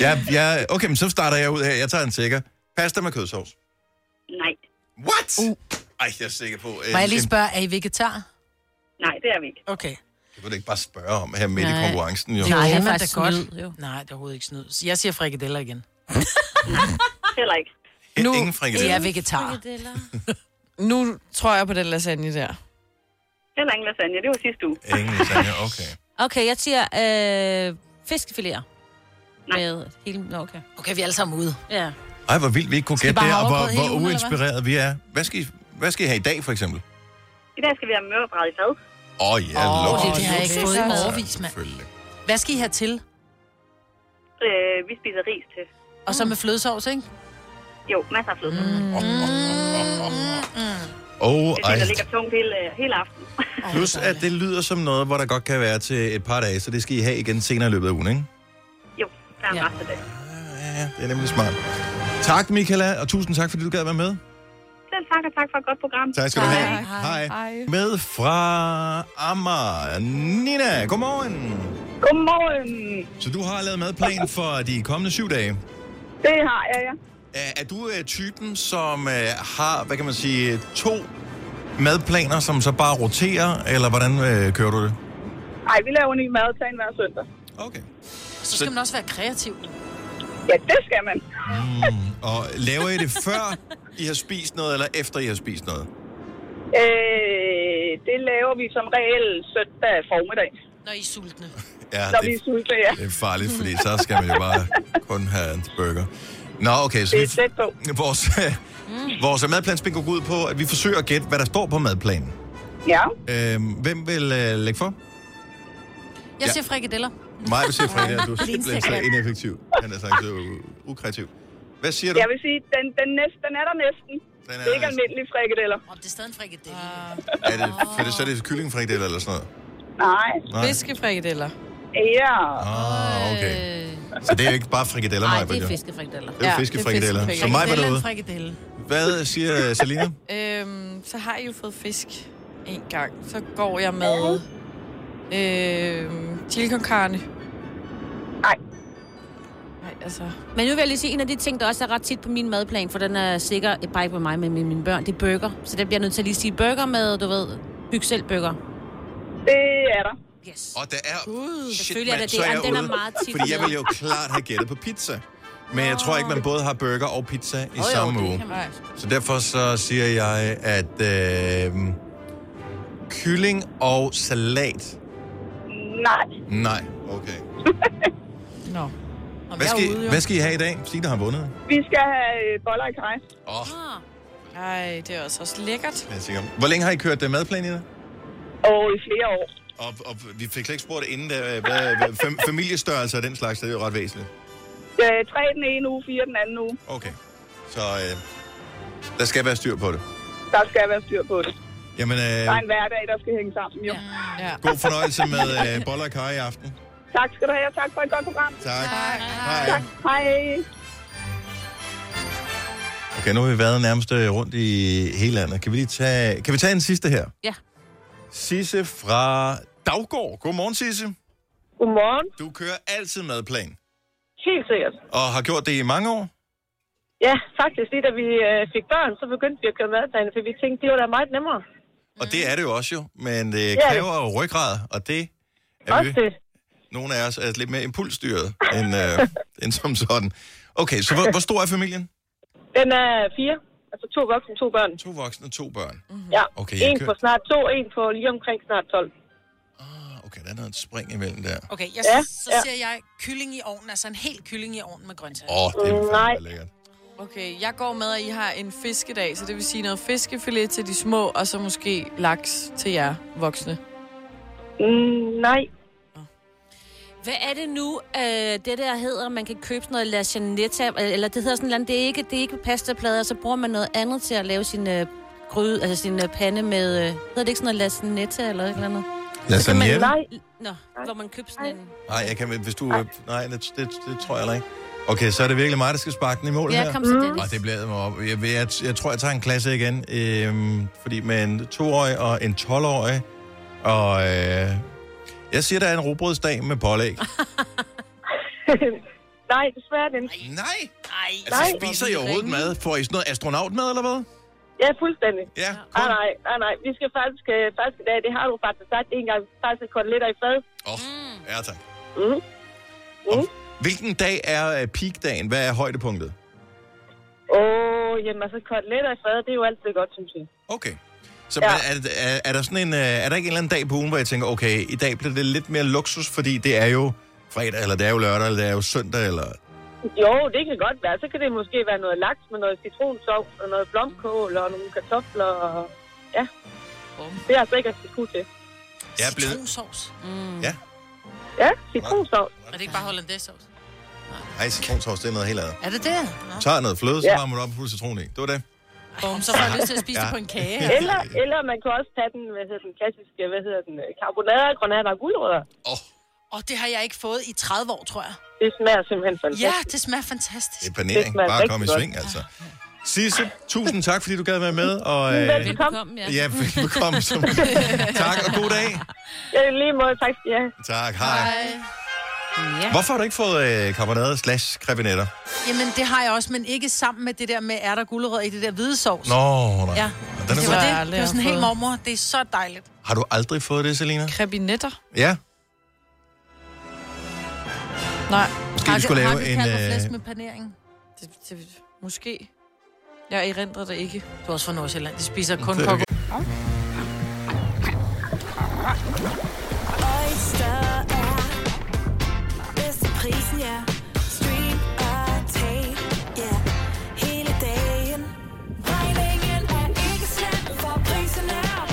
Speaker 3: Jeg, jeg, okay, men så starter jeg ud her. Jeg tager en sikker. Pasta med kødsovs.
Speaker 11: Nej.
Speaker 3: What? Uh. Ej, jeg er sikker på... øh,
Speaker 4: Må jeg lige spørge, er I vegetar?
Speaker 11: Nej, det er vi ikke.
Speaker 4: Okay.
Speaker 3: Det kunne du ikke bare spørge om her midt i
Speaker 4: Nej.
Speaker 3: konkurrencen, jo.
Speaker 4: Nej,
Speaker 5: han
Speaker 4: han
Speaker 5: er
Speaker 4: er da
Speaker 5: faktisk
Speaker 4: godt.
Speaker 5: snyd, jo.
Speaker 4: Nej, det er overhovedet ikke snyd. Så Jeg siger frikadeller igen.
Speaker 11: Heller ikke.
Speaker 3: Nu, Ingen frikadeller.
Speaker 4: Jeg er vegetar.
Speaker 6: Nu tror jeg på den lasagne der.
Speaker 11: Heller ingen lasagne. Det var sidste uge.
Speaker 3: Ingen lasagne, okay.
Speaker 5: Okay, jeg siger øh, fiskefiléer. Med hele... Nå, okay.
Speaker 4: Okay, vi er alle sammen ude.
Speaker 5: Ja.
Speaker 3: Ej, hvor vildt vi ikke kunne
Speaker 5: Skal vi
Speaker 3: gætte
Speaker 5: bare
Speaker 3: det, og hvor,
Speaker 5: have overgået hele
Speaker 3: hvor
Speaker 5: ugen, eller hvad?
Speaker 3: uinspireret vi er. Hvad skal, I, hvad skal I have i dag, for eksempel?
Speaker 11: I dag skal vi have mørbrad i fad.
Speaker 3: Åh, oh, ja,
Speaker 4: Åh,
Speaker 3: oh,
Speaker 4: det er det, jeg ikke fået i overvis, mand.
Speaker 3: Selvfølgelig.
Speaker 4: Hvad skal I have til?
Speaker 11: Øh, vi spiser ris til.
Speaker 4: Og så med flødesovs, ikke?
Speaker 11: Jo, masser af fløde. Mm.
Speaker 3: Oh,
Speaker 11: Det er
Speaker 3: ej.
Speaker 11: det, der ligger tungt hele, øh, hele aftenen.
Speaker 3: Plus, at det lyder som noget, hvor der godt kan være til et par dage, så det skal I have igen senere i løbet af ugen, ikke?
Speaker 11: Jo, der er en rest af det.
Speaker 3: Ja, det er nemlig smart. Tak, Michaela, og tusind tak, fordi du gad at være med.
Speaker 11: Selv tak, og tak for et godt program.
Speaker 3: Tak skal du have. Hej. Hej. Med fra Amager, Nina. Godmorgen.
Speaker 12: Godmorgen.
Speaker 3: Så du har lavet madplan for de kommende syv dage?
Speaker 12: Det har jeg, ja.
Speaker 3: Er, er du øh, typen, som øh, har, hvad kan man sige, to madplaner, som så bare roterer, eller hvordan øh, kører du det?
Speaker 12: Ej, vi laver ny madplan hver søndag.
Speaker 3: Okay.
Speaker 4: Så skal man også være kreativ.
Speaker 12: Ja, det skal man.
Speaker 3: Og laver I det før I har spist noget, eller efter I har spist noget?
Speaker 12: Øh, det laver vi som regel søndag formiddag.
Speaker 4: Når I er sultne.
Speaker 3: Ja,
Speaker 12: Når
Speaker 3: det-
Speaker 12: vi er sultne, ja.
Speaker 3: Det er farligt, fordi så skal man jo bare kun have en burger. Nå, okay, så vi, vores, [LAUGHS] vores madplansbingo går ud på, at vi forsøger at gætte, hvad der står på madplanen.
Speaker 12: Ja.
Speaker 3: Øhm, hvem vil øh, lægge for?
Speaker 4: Jeg
Speaker 3: Ja.
Speaker 4: siger frikadeller.
Speaker 3: Mig vil sige Frederik, at du er
Speaker 4: Din
Speaker 3: simpelthen så
Speaker 4: sekretær.
Speaker 3: ineffektiv. Han er sagt så u- ukreativ. Hvad siger du?
Speaker 12: Jeg vil sige, den, den, næste, den er der næsten.
Speaker 3: Den er
Speaker 12: det er ikke
Speaker 3: der
Speaker 12: almindelige frikadeller.
Speaker 4: Om det er stadig en frikadelle.
Speaker 3: Er det, for det, så er det kyllingfrikadeller eller sådan noget?
Speaker 12: Nej.
Speaker 3: Nej.
Speaker 6: Fiskefrikadeller.
Speaker 12: Ja.
Speaker 3: Ah, okay. Så det er jo ikke bare frikadeller,
Speaker 5: Nej,
Speaker 3: Maja,
Speaker 5: det er
Speaker 3: jo.
Speaker 5: fiskefrikadeller.
Speaker 3: Det er jo fiskefrikadeller. Så mig var derude.
Speaker 4: Frikadelle.
Speaker 3: Hvad siger øh, Selina?
Speaker 6: Øhm, så har jeg jo fået fisk en gang. Så går jeg med øhm, chili con carne.
Speaker 12: Nej.
Speaker 6: Nej, altså...
Speaker 5: Men nu vil jeg lige sige, en af de ting, der også er ret tit på min madplan, for den er sikker, eh, bare ikke med mig, men med mine børn, det er burger. Så der bliver jeg nødt til at lige sige burger med, du ved, byg selv burger.
Speaker 12: Det er der.
Speaker 5: Yes.
Speaker 3: Og der er...
Speaker 5: Gud,
Speaker 3: Shit,
Speaker 5: selvfølgelig er
Speaker 3: mand,
Speaker 5: det
Speaker 3: så
Speaker 5: det. Jamen, den er
Speaker 3: ude.
Speaker 5: meget tit.
Speaker 3: Fordi jeg ville jo klart have gættet på pizza. Men jeg tror ikke, man både har burger og pizza i samme uge. Så derfor så siger jeg, at øh, kylling og salat.
Speaker 12: Nej.
Speaker 3: Nej, okay.
Speaker 6: Nå.
Speaker 3: Hvad skal, I- hvad skal I have i dag? Signe har vundet.
Speaker 12: Vi skal have øh, boller i kaj.
Speaker 5: Ah.
Speaker 3: Åh.
Speaker 6: Ej, det er også, også lækkert.
Speaker 3: Jeg er sikker. Hvor længe har I kørt øh, madplan i det?
Speaker 12: Og i flere år.
Speaker 3: Og, og vi fik slet ikke spurgt inden, da, hvad, hvad, fam, familiestørrelse og den slags, det er jo ret væsentligt.
Speaker 12: Øh, tre den ene uge, fire den anden uge.
Speaker 3: Okay. Så øh, der skal være styr på det.
Speaker 12: Der skal være styr på det.
Speaker 3: Jamen, øh,
Speaker 12: Der er en hverdag, der skal hænge sammen, jo.
Speaker 6: Ja.
Speaker 3: god fornøjelse med øh, boller og kar i aften.
Speaker 12: Tak skal du have, og tak for et godt program.
Speaker 3: Tak. Hej.
Speaker 12: Tak. Hej.
Speaker 3: Okay, nu har vi været nærmest øh, rundt i hele landet. Kan vi lige tage, kan vi tage en sidste her?
Speaker 5: Ja.
Speaker 3: Sisse fra Daggård. Godmorgen, Sisse.
Speaker 13: Godmorgen.
Speaker 3: Du kører altid madplan,
Speaker 13: Helt sikkert.
Speaker 3: og har gjort det i mange år.
Speaker 13: Ja, faktisk lige da vi øh, fik børn, så begyndte vi at køre madplaner, for vi tænkte, det var da meget nemmere.
Speaker 3: Og det er det jo også jo, men det
Speaker 13: det.
Speaker 3: kræver jo ryggrad, og det er
Speaker 13: Også
Speaker 3: vi.
Speaker 13: det.
Speaker 3: Nogle af os er lidt mere impulsstyret end, øh, end som sådan. Okay, så hvor, hvor stor er familien?
Speaker 13: Den er fire. Altså to voksne, to børn.
Speaker 3: To voksne, to børn.
Speaker 10: Mm.
Speaker 7: Mhm.
Speaker 3: Mm-hmm.
Speaker 13: Ja,
Speaker 3: Okay,
Speaker 13: okay,
Speaker 3: jeg
Speaker 13: en
Speaker 3: kører-
Speaker 13: på snart to, en på lige omkring snart 12.
Speaker 3: Ah, Okay, der er noget spring imellem der.
Speaker 4: Okay, jeg,
Speaker 13: Ja,
Speaker 4: ja, så
Speaker 13: ja.
Speaker 4: siger jeg kylling i ovnen, altså en hel kylling i ovnen med grøntsager.
Speaker 3: Åh, det er
Speaker 6: Nej.
Speaker 3: fandme lækkert.
Speaker 6: Okay, jeg går med, at I har en fiskedag, så det vil sige noget fiskefilet til de små, og så måske laks til jer voksne.
Speaker 13: Mm, nej.
Speaker 5: Hvad er det nu, øh, det der hedder, man kan købe sådan noget lachanetta, eller det hedder sådan noget, det er ikke, det er ikke pastaplader, så bruger man noget andet til at lave sin øh, gryde, altså sin øh, pande med, øh, hedder det ikke sådan noget lachanetta eller et eller andet? Så kan man-
Speaker 3: Lasagne? Nej,
Speaker 5: Nå, hvor man køber sådan en...
Speaker 3: jeg kan, hvis du... Nej, det, det, det tror jeg heller ikke. Okay, så er det virkelig mig, der skal sparke den i mål
Speaker 5: Ja,
Speaker 3: her.
Speaker 5: kom så, Dennis.
Speaker 3: Og det bliver mig op. Jeg, jeg, jeg, jeg, tror, jeg tager en klasse igen. Øhm, fordi med en toårig og en 12-årig. Og øh, jeg siger, der er en robrødsdag med pålæg.
Speaker 12: [LAUGHS] Nej, desværre den.
Speaker 3: Nej. Altså, spiser I overhovedet mad? Får I sådan noget astronautmad, eller hvad?
Speaker 12: Ja, fuldstændig.
Speaker 3: Ja.
Speaker 12: Nej, nej, nej, nej. Vi skal faktisk, øh, faktisk i dag, det har du faktisk sagt en gang, faktisk koteletter i fad.
Speaker 3: Åh, oh, ja tak.
Speaker 12: Mm. Mm-hmm.
Speaker 3: Og hvilken dag er øh, peakdagen? Hvad er højdepunktet?
Speaker 12: Åh, jamen altså, koteletter i fad, det er jo altid godt, synes jeg.
Speaker 3: Okay. Så
Speaker 12: Ja.
Speaker 3: ja. er, er, er, der sådan en, øh, er der ikke en eller anden dag på ugen, hvor jeg tænker, okay, i dag bliver det lidt mere luksus, fordi det er jo fredag, eller det er jo lørdag, eller det er jo søndag, eller...
Speaker 12: Jo, det kan godt være. Så kan det måske være noget laks med noget citronsovs og noget blomkål og nogle kartofler. Og... Ja, det er altså ikke at skulle til.
Speaker 3: Jeg er blevet...
Speaker 4: Citronsovs. Mm.
Speaker 3: Ja.
Speaker 12: Ja, citronsovs.
Speaker 4: Er det ikke bare hollandaisesovs?
Speaker 3: Ej, citronsovs, det er noget helt andet.
Speaker 4: Er det det?
Speaker 3: Tag noget fløde, så
Speaker 12: Ja.
Speaker 3: varmer du op og putter citron i. Det var det.
Speaker 4: Bum, så får jeg
Speaker 3: [LAUGHS]
Speaker 4: lyst til at spise
Speaker 3: Ja.
Speaker 4: det på en kage.
Speaker 12: Eller, eller man kan også tage den, hvad hedder den klassiske, hvad hedder den, øh, karbonader, granater og guldrødder.
Speaker 4: Og det har jeg ikke fået i 30 år, tror jeg.
Speaker 12: Det smager simpelthen
Speaker 4: Ja,
Speaker 12: fantastisk.
Speaker 4: det smager fantastisk.
Speaker 3: Det er panering. Bare kom i sving, altså. Sisse, tusind tak, fordi du gad være med. Og, øh,
Speaker 12: Velbekomme, ja.
Speaker 3: Ja, velbekomme. Som...
Speaker 12: [LAUGHS]
Speaker 3: tak, og god dag.
Speaker 12: Ja, i lige måde, tak skal I have.
Speaker 3: Tak, hej. Hvorfor har du ikke fået øh, karbonade slash krebinetter?
Speaker 4: Jamen, det har jeg også, men ikke sammen med det der med ærter og gulerødder i det der hvide sovs.
Speaker 3: Nå, nej.
Speaker 4: Ja,
Speaker 3: Den er
Speaker 4: det
Speaker 3: god.
Speaker 4: var
Speaker 3: Jeg har
Speaker 4: det.
Speaker 3: aldrig
Speaker 4: Det var sådan helt
Speaker 3: fået.
Speaker 4: mormor. Det er så dejligt.
Speaker 3: Har du aldrig fået det, Selina?
Speaker 6: Krebinetter?
Speaker 3: Ja.
Speaker 6: Nej.
Speaker 3: Måske vi skulle lave en... Øh...
Speaker 4: med panering?
Speaker 6: Det, det, måske. Jeg erindrer det ikke.
Speaker 4: Du er også fra Nordsjælland. De spiser kun
Speaker 6: Det er
Speaker 4: kokke.
Speaker 14: Oyster er bedst til prisen, ja. Stream og tag, ja. Hele dagen. Regningen er ikke slem, for prisen er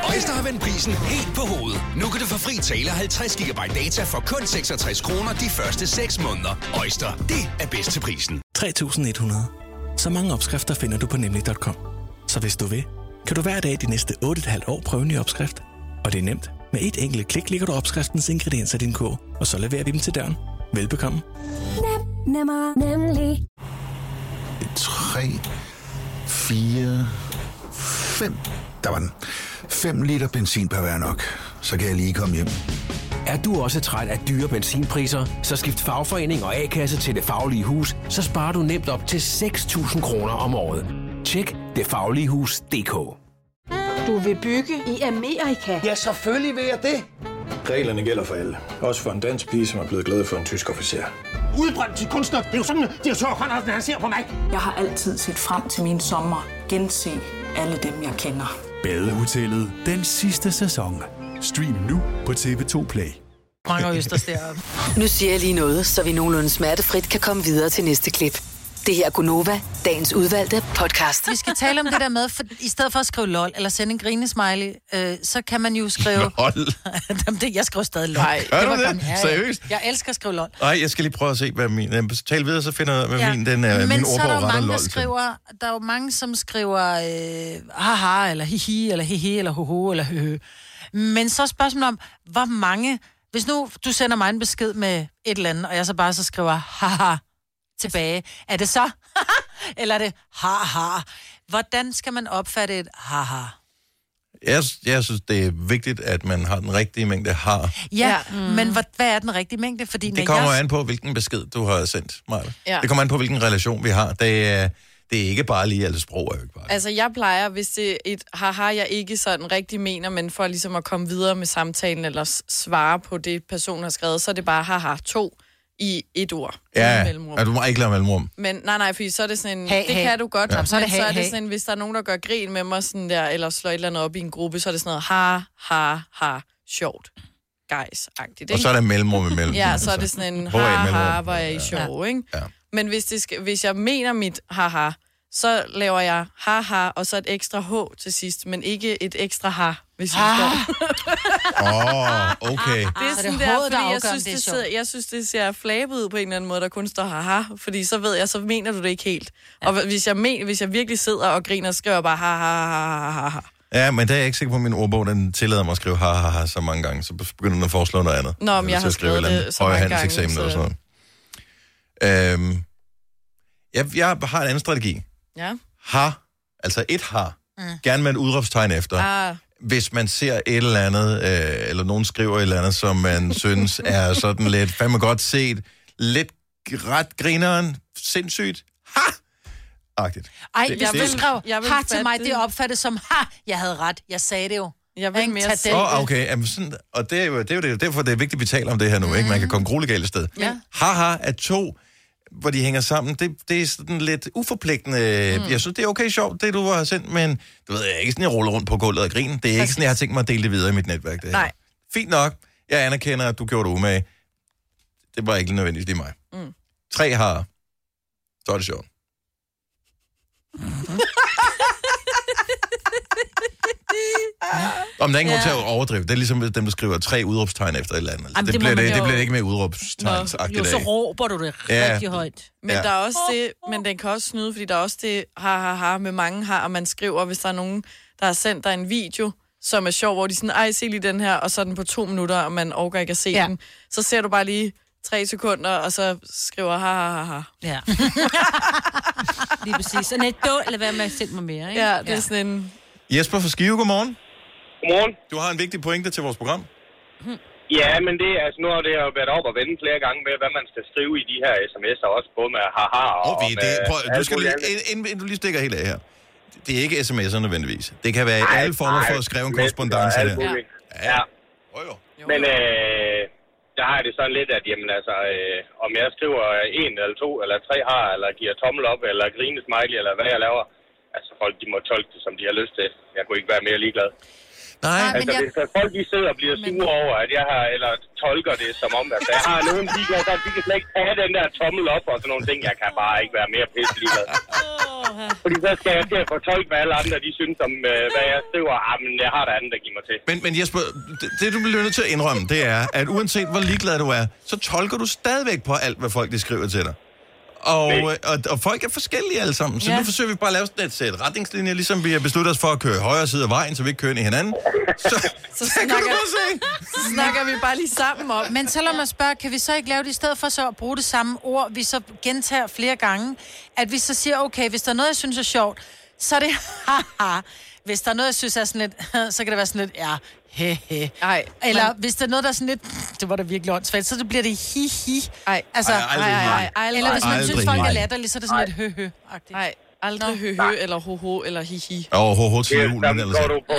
Speaker 14: på
Speaker 15: Øjster har vendt prisen helt på hovedet. Nu kan du få fri tale 50 GB data for kun 66 kroner de første 6 måneder. Øjster, det er bedst til prisen.
Speaker 16: 3100. Så mange opskrifter finder du på nemlig.com. Så hvis du vil, kan du hver dag de næste 8,5 år prøve en ny opskrift. Og det er nemt. Med et enkelt klik ligger du opskriftens ingredienser i din kog, og så leverer vi dem til døren. Velbekomme.
Speaker 14: Nem, nemmer, nemlig.
Speaker 17: 3, 4, 5. Der var den. 5 liter benzin per hver nok. Så kan jeg lige komme hjem.
Speaker 18: Er du også træt af dyre benzinpriser, så skift fagforening og A-kasse til Det Faglige Hus, så sparer du nemt op til 6.000 kroner om året. Tjek detfagligehus.dk
Speaker 19: Du vil bygge i Amerika? Ja, selvfølgelig vil jeg det.
Speaker 20: Reglerne gælder for alle. Også for en dansk pige, som er blevet glad for en tysk officer.
Speaker 19: Udbrændt til kunstner. Det er jo sådan, at de har Conradsen, han ser på mig. Jeg har altid set frem til min sommer. Gense alle dem, jeg kender.
Speaker 21: Badehotellet den sidste sæson. Stream nu på TV2 Play.
Speaker 4: Mange østers deroppe.
Speaker 1: Nu siger jeg lige noget, så vi nogenlunde smertefrit kan komme videre til næste klip. Det her er Gunova, dagens udvalgte podcast.
Speaker 4: Vi skal tale om det der med, for i stedet for at skrive lol eller sende en grinesmiley, øh, så kan man jo skrive...
Speaker 3: Hold.
Speaker 4: [LAUGHS] Jamen, det, jeg skriver stadig lol. Nej,
Speaker 3: Gør du det? Seriøst?
Speaker 4: Jeg elsker at skrive lol.
Speaker 3: Nej, jeg skal lige prøve at se, hvad min... Øh, tal videre, så finder jeg, ud af, hvad ja. min, den, øh,
Speaker 4: Men
Speaker 3: min
Speaker 4: så er
Speaker 3: ordbog
Speaker 4: der jo
Speaker 3: retter
Speaker 4: mange,
Speaker 3: lol
Speaker 4: der
Speaker 3: til.
Speaker 4: skriver, der er jo mange, som skriver øh, haha, eller hihi, eller hehe, eller hoho, eller høhø. Men så er spørgsmålet om, hvor mange... Hvis nu du sender mig en besked med et eller andet, og jeg så bare så skriver haha tilbage, er det så [LAUGHS] eller er det haha? Hvordan skal man opfatte et haha?
Speaker 3: Jeg, jeg synes, det er vigtigt, at man har den rigtige mængde har.
Speaker 4: Ja, mm. men hvad, hvad er den rigtige mængde? Fordi når
Speaker 3: Det kommer
Speaker 4: jeg...
Speaker 3: an på, hvilken besked du har sendt, Maja.
Speaker 6: Ja.
Speaker 3: Ja. Det kommer an på, hvilken relation vi har. Det er, det er ikke bare lige, altså sprog er jo ikke bare.
Speaker 6: Altså, jeg plejer, hvis det er et haha, jeg ikke sådan rigtig mener, men for ligesom at komme videre med samtalen eller s- svare på det, personen har skrevet, så er det bare haha to i et ord.
Speaker 3: Ja, Altså-
Speaker 6: Uden mellemrum.
Speaker 3: ja du må ikke lave mellemrum.
Speaker 6: Men nej, nej, fordi så er det sådan en...
Speaker 4: Hey,
Speaker 6: det
Speaker 4: hey.
Speaker 6: kan du godt,
Speaker 3: Ja.
Speaker 6: ja.
Speaker 4: Så er det
Speaker 6: men så
Speaker 4: hey,
Speaker 6: er det
Speaker 4: hey.
Speaker 6: sådan en, hvis der er nogen, der gør grin med mig sådan der, eller slår et eller andet op i en gruppe, så er det sådan noget ha, ha, ha, sjovt, guys-agtigt.
Speaker 3: Og så er der mellemrum imellem.
Speaker 6: [LAUGHS]
Speaker 3: altså.
Speaker 6: Ja, så er det sådan en
Speaker 3: Hvor er
Speaker 6: ha, ha,
Speaker 3: mellemrum?
Speaker 6: hvor er I sjov, ikke? Men hvis, det skal, hvis jeg mener mit haha, så laver jeg haha, og så et ekstra h til sidst, men ikke et ekstra ha, hvis ah. jeg står.
Speaker 3: Åh, oh, okay.
Speaker 6: Det er
Speaker 4: Ah, Så
Speaker 6: sådan
Speaker 4: det
Speaker 6: det
Speaker 4: er
Speaker 6: der,
Speaker 4: hovedet, der
Speaker 6: fordi jeg
Speaker 4: afgør, om
Speaker 6: synes,
Speaker 4: det er
Speaker 6: det
Speaker 4: sjovt.
Speaker 6: ser, jeg synes, det ser flabet ud på en eller anden måde, der kun står haha, fordi så ved jeg, så mener du det ikke helt. Og hvis jeg, men, hvis jeg virkelig sidder og griner, skriver jeg bare haha, haha, haha, haha.
Speaker 3: Ja, men der er jeg ikke sikker på, at min ordbog den tillader mig at skrive ha, ha, ha så mange gange. Så begynder den at foreslå noget andet.
Speaker 6: Nå, men
Speaker 3: Eller
Speaker 6: jeg
Speaker 3: til
Speaker 6: har
Speaker 3: at
Speaker 6: skrevet
Speaker 3: skrive et eller andet
Speaker 6: det så mange gange.
Speaker 3: højhandelseksamen
Speaker 6: Så...
Speaker 3: eller sådan noget. Øhm, jeg, jeg har en anden strategi.
Speaker 6: Ja.
Speaker 3: Ha, altså et ha,
Speaker 6: Mm.
Speaker 3: gerne med et udråbstegn efter.
Speaker 6: Ah,
Speaker 3: hvis man ser et eller andet, øh, eller nogen skriver et eller andet, som
Speaker 6: [LAUGHS]
Speaker 3: man synes er sådan lidt fandme godt set, lidt ret grineren, sindssygt, ha! Agtigt.
Speaker 4: Ej,
Speaker 3: Det-
Speaker 4: hvis
Speaker 3: det-
Speaker 4: du skrev
Speaker 6: jeg vil
Speaker 4: har til
Speaker 6: fatte
Speaker 4: mig, det
Speaker 6: det.
Speaker 4: er opfattet som, ha, jeg havde ret, jeg sagde det jo.
Speaker 6: Jeg vil mere
Speaker 4: tage den.
Speaker 3: Åh, oh, okay. Jamen, sådan, og det er jo, det er jo det, derfor, det er vigtigt, at vi taler om det her nu. Ikke? Man kan komme grueligt galt af sted.
Speaker 4: Ja.
Speaker 3: Haha er to, hvor de hænger sammen. Det, det er sådan lidt uforpligtende. Mm. Jeg synes, det er okay sjovt, det du har sendt, men du ved, jeg er ikke sådan, jeg ruller rundt på gulvet og griner. Det er ikke sådan, jeg har tænkt mig at dele det videre i mit netværk. Det her.
Speaker 6: nej.
Speaker 3: Fint nok. Jeg anerkender, at du gjorde det umage. Det var ikke nødvendigvis lige mig.
Speaker 6: Mm.
Speaker 3: Tre har. Så er det sjovt.
Speaker 5: Mm-hmm.
Speaker 3: Om der er ingen ja. grund til at overdrive. Det er ligesom dem, der skriver tre udråbstegn efter et eller andet. det,
Speaker 5: Jamen, det
Speaker 3: det,
Speaker 5: må
Speaker 3: bliver
Speaker 5: man
Speaker 3: det,
Speaker 5: jo-
Speaker 3: det bliver ikke mere
Speaker 5: Jo,
Speaker 3: udråbstegnsagtigt
Speaker 5: så
Speaker 3: af.
Speaker 5: råber du det
Speaker 3: Øh. Ja.
Speaker 5: rigtig højt.
Speaker 6: Men
Speaker 3: Ja.
Speaker 6: ja. der er også det, men den kan også snyde, fordi der er også det ha, ha, ha med mange har, og man skriver, hvis der er nogen, der har sendt dig en video, som er sjov, hvor de sådan, ej, se lige den her, og så er den på to minutter, og man overgår ikke at se ja. den. Så ser du bare lige tre sekunder, og så skriver ha, ha, ha, ha.
Speaker 5: Ja. [LAUGHS] Lige præcis. Og net dårligt, lad være med at sende mig mere, ikke?
Speaker 6: Ja, det er sådan en...
Speaker 3: Jesper fra Skive, godmorgen.
Speaker 7: Godmorgen.
Speaker 3: Du har en vigtig pointe til vores program.
Speaker 7: Ja, men det, er- altså, nu har det jo været op og vende flere gange med, hvad man skal skrive i de her sms'er, også både med haha og,
Speaker 3: Og vi,
Speaker 7: med
Speaker 3: det, prøv, du
Speaker 7: alt
Speaker 3: skal
Speaker 7: muligt
Speaker 3: lige,
Speaker 7: andet.
Speaker 3: inden, inden- inden du lige stikker helt af her. Det er ikke sms'er nødvendigvis. Det kan være
Speaker 7: Nej,
Speaker 3: alle former for
Speaker 7: nej,
Speaker 3: at skrive en
Speaker 7: sms'er og
Speaker 3: korrespondence.
Speaker 7: alt
Speaker 3: der.
Speaker 7: muligt.
Speaker 3: Ja. ja.
Speaker 7: Men øh, der har jeg det sådan lidt, at jamen, altså, øh, om jeg skriver en eller to eller tre har, eller giver tommel op, eller grine smiley, eller hvad jeg laver, altså folk de må tolke det, som de har lyst til. Jeg kunne ikke være mere ligeglad.
Speaker 3: Nej,
Speaker 7: altså,
Speaker 22: jeg-
Speaker 7: hvis der folk de sidder og bliver sure over, at jeg har, eller tolker det som om, at jeg har nogen, de kan, de kan slet ikke tage den der tommel op og sådan nogle ting. Jeg kan bare ikke være mere pisse ligeglad. Fordi så skal jeg til at fortolke, hvad alle andre de synes om, øh, hvad jeg skriver. Ah, men jeg har der andet, der giver mig til.
Speaker 3: Men, men Jesper, det, det du bliver nødt til at indrømme, det er, at uanset hvor ligeglad du er, så tolker du stadigvæk på alt, hvad folk de skriver til dig. Og, øh, og, og folk er forskellige alle sammen, så
Speaker 7: Ja.
Speaker 3: nu forsøger vi bare at lave sådan et sæt retningslinjer, ligesom vi har besluttet os for at køre højre side af vejen, så vi ikke kører ind i [LAUGHS] hinanden. Så,
Speaker 6: Så
Speaker 3: kan
Speaker 6: snakker,
Speaker 3: du godt
Speaker 6: så snakker vi bare lige sammen om.
Speaker 4: Men selvom man spørger, kan vi så ikke lave det i stedet for så at bruge det samme ord, vi så gentager flere gange, at vi så siger, okay, hvis der er noget, jeg synes er sjovt, så er det [LAUGHS] haha. Hvis der er noget, jeg synes er sådan lidt, [LAUGHS] så kan det være sådan lidt, ja, he, he.
Speaker 6: Ej,
Speaker 4: Eller
Speaker 6: men-
Speaker 4: hvis der er noget, der er sådan lidt, [LAUGHS] "Pff, det var da virkelig åndssvagt, så det bliver det hi, hi.
Speaker 6: Ej,
Speaker 4: altså,
Speaker 6: Ej, aldrig hi. Aldrig.
Speaker 4: Eller hvis man
Speaker 3: Aldrig
Speaker 4: synes, folk
Speaker 3: hi.
Speaker 4: er latterlige, så er det sådan lidt hø, hø.
Speaker 6: Nej, aldrig hø, hø eller ho, ho eller hi, hi.
Speaker 3: Åh, ho, ho til julen,
Speaker 7: Jamen,
Speaker 3: eller
Speaker 7: går
Speaker 3: sådan.
Speaker 7: du på,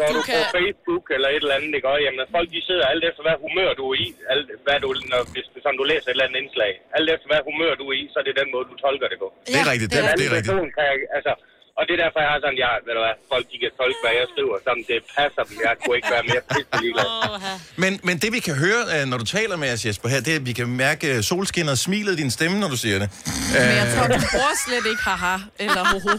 Speaker 7: går
Speaker 6: Du
Speaker 7: du, på
Speaker 6: kan-
Speaker 7: Facebook eller et eller andet, ikke? Og, jamen, folk de sidder alt efter, hvad humør du er i, alt, hvad du, når, hvis du, sådan, du læser et eller andet indslag. Alt efter, hvad humør du er i, så er det den måde, du tolker det på.
Speaker 3: Det er Ja, rigtigt, det er det er- rigtigt.
Speaker 7: Person, kan, jeg- altså, og det er derfor, jeg har sådan, jeg, ved du hvad, folk de kan tolke, hvad jeg skriver, som det passer dem. Jeg kunne ikke være mere pisse ligeglad.
Speaker 3: Men, men det vi kan høre, øh, når du taler med os, Jesper, her, det er, at vi kan mærke øh, solskinnet og smilet i din stemme, når du siger det.
Speaker 6: Men jeg
Speaker 3: Øh,
Speaker 6: tror, du bruger slet ikke haha eller hoho.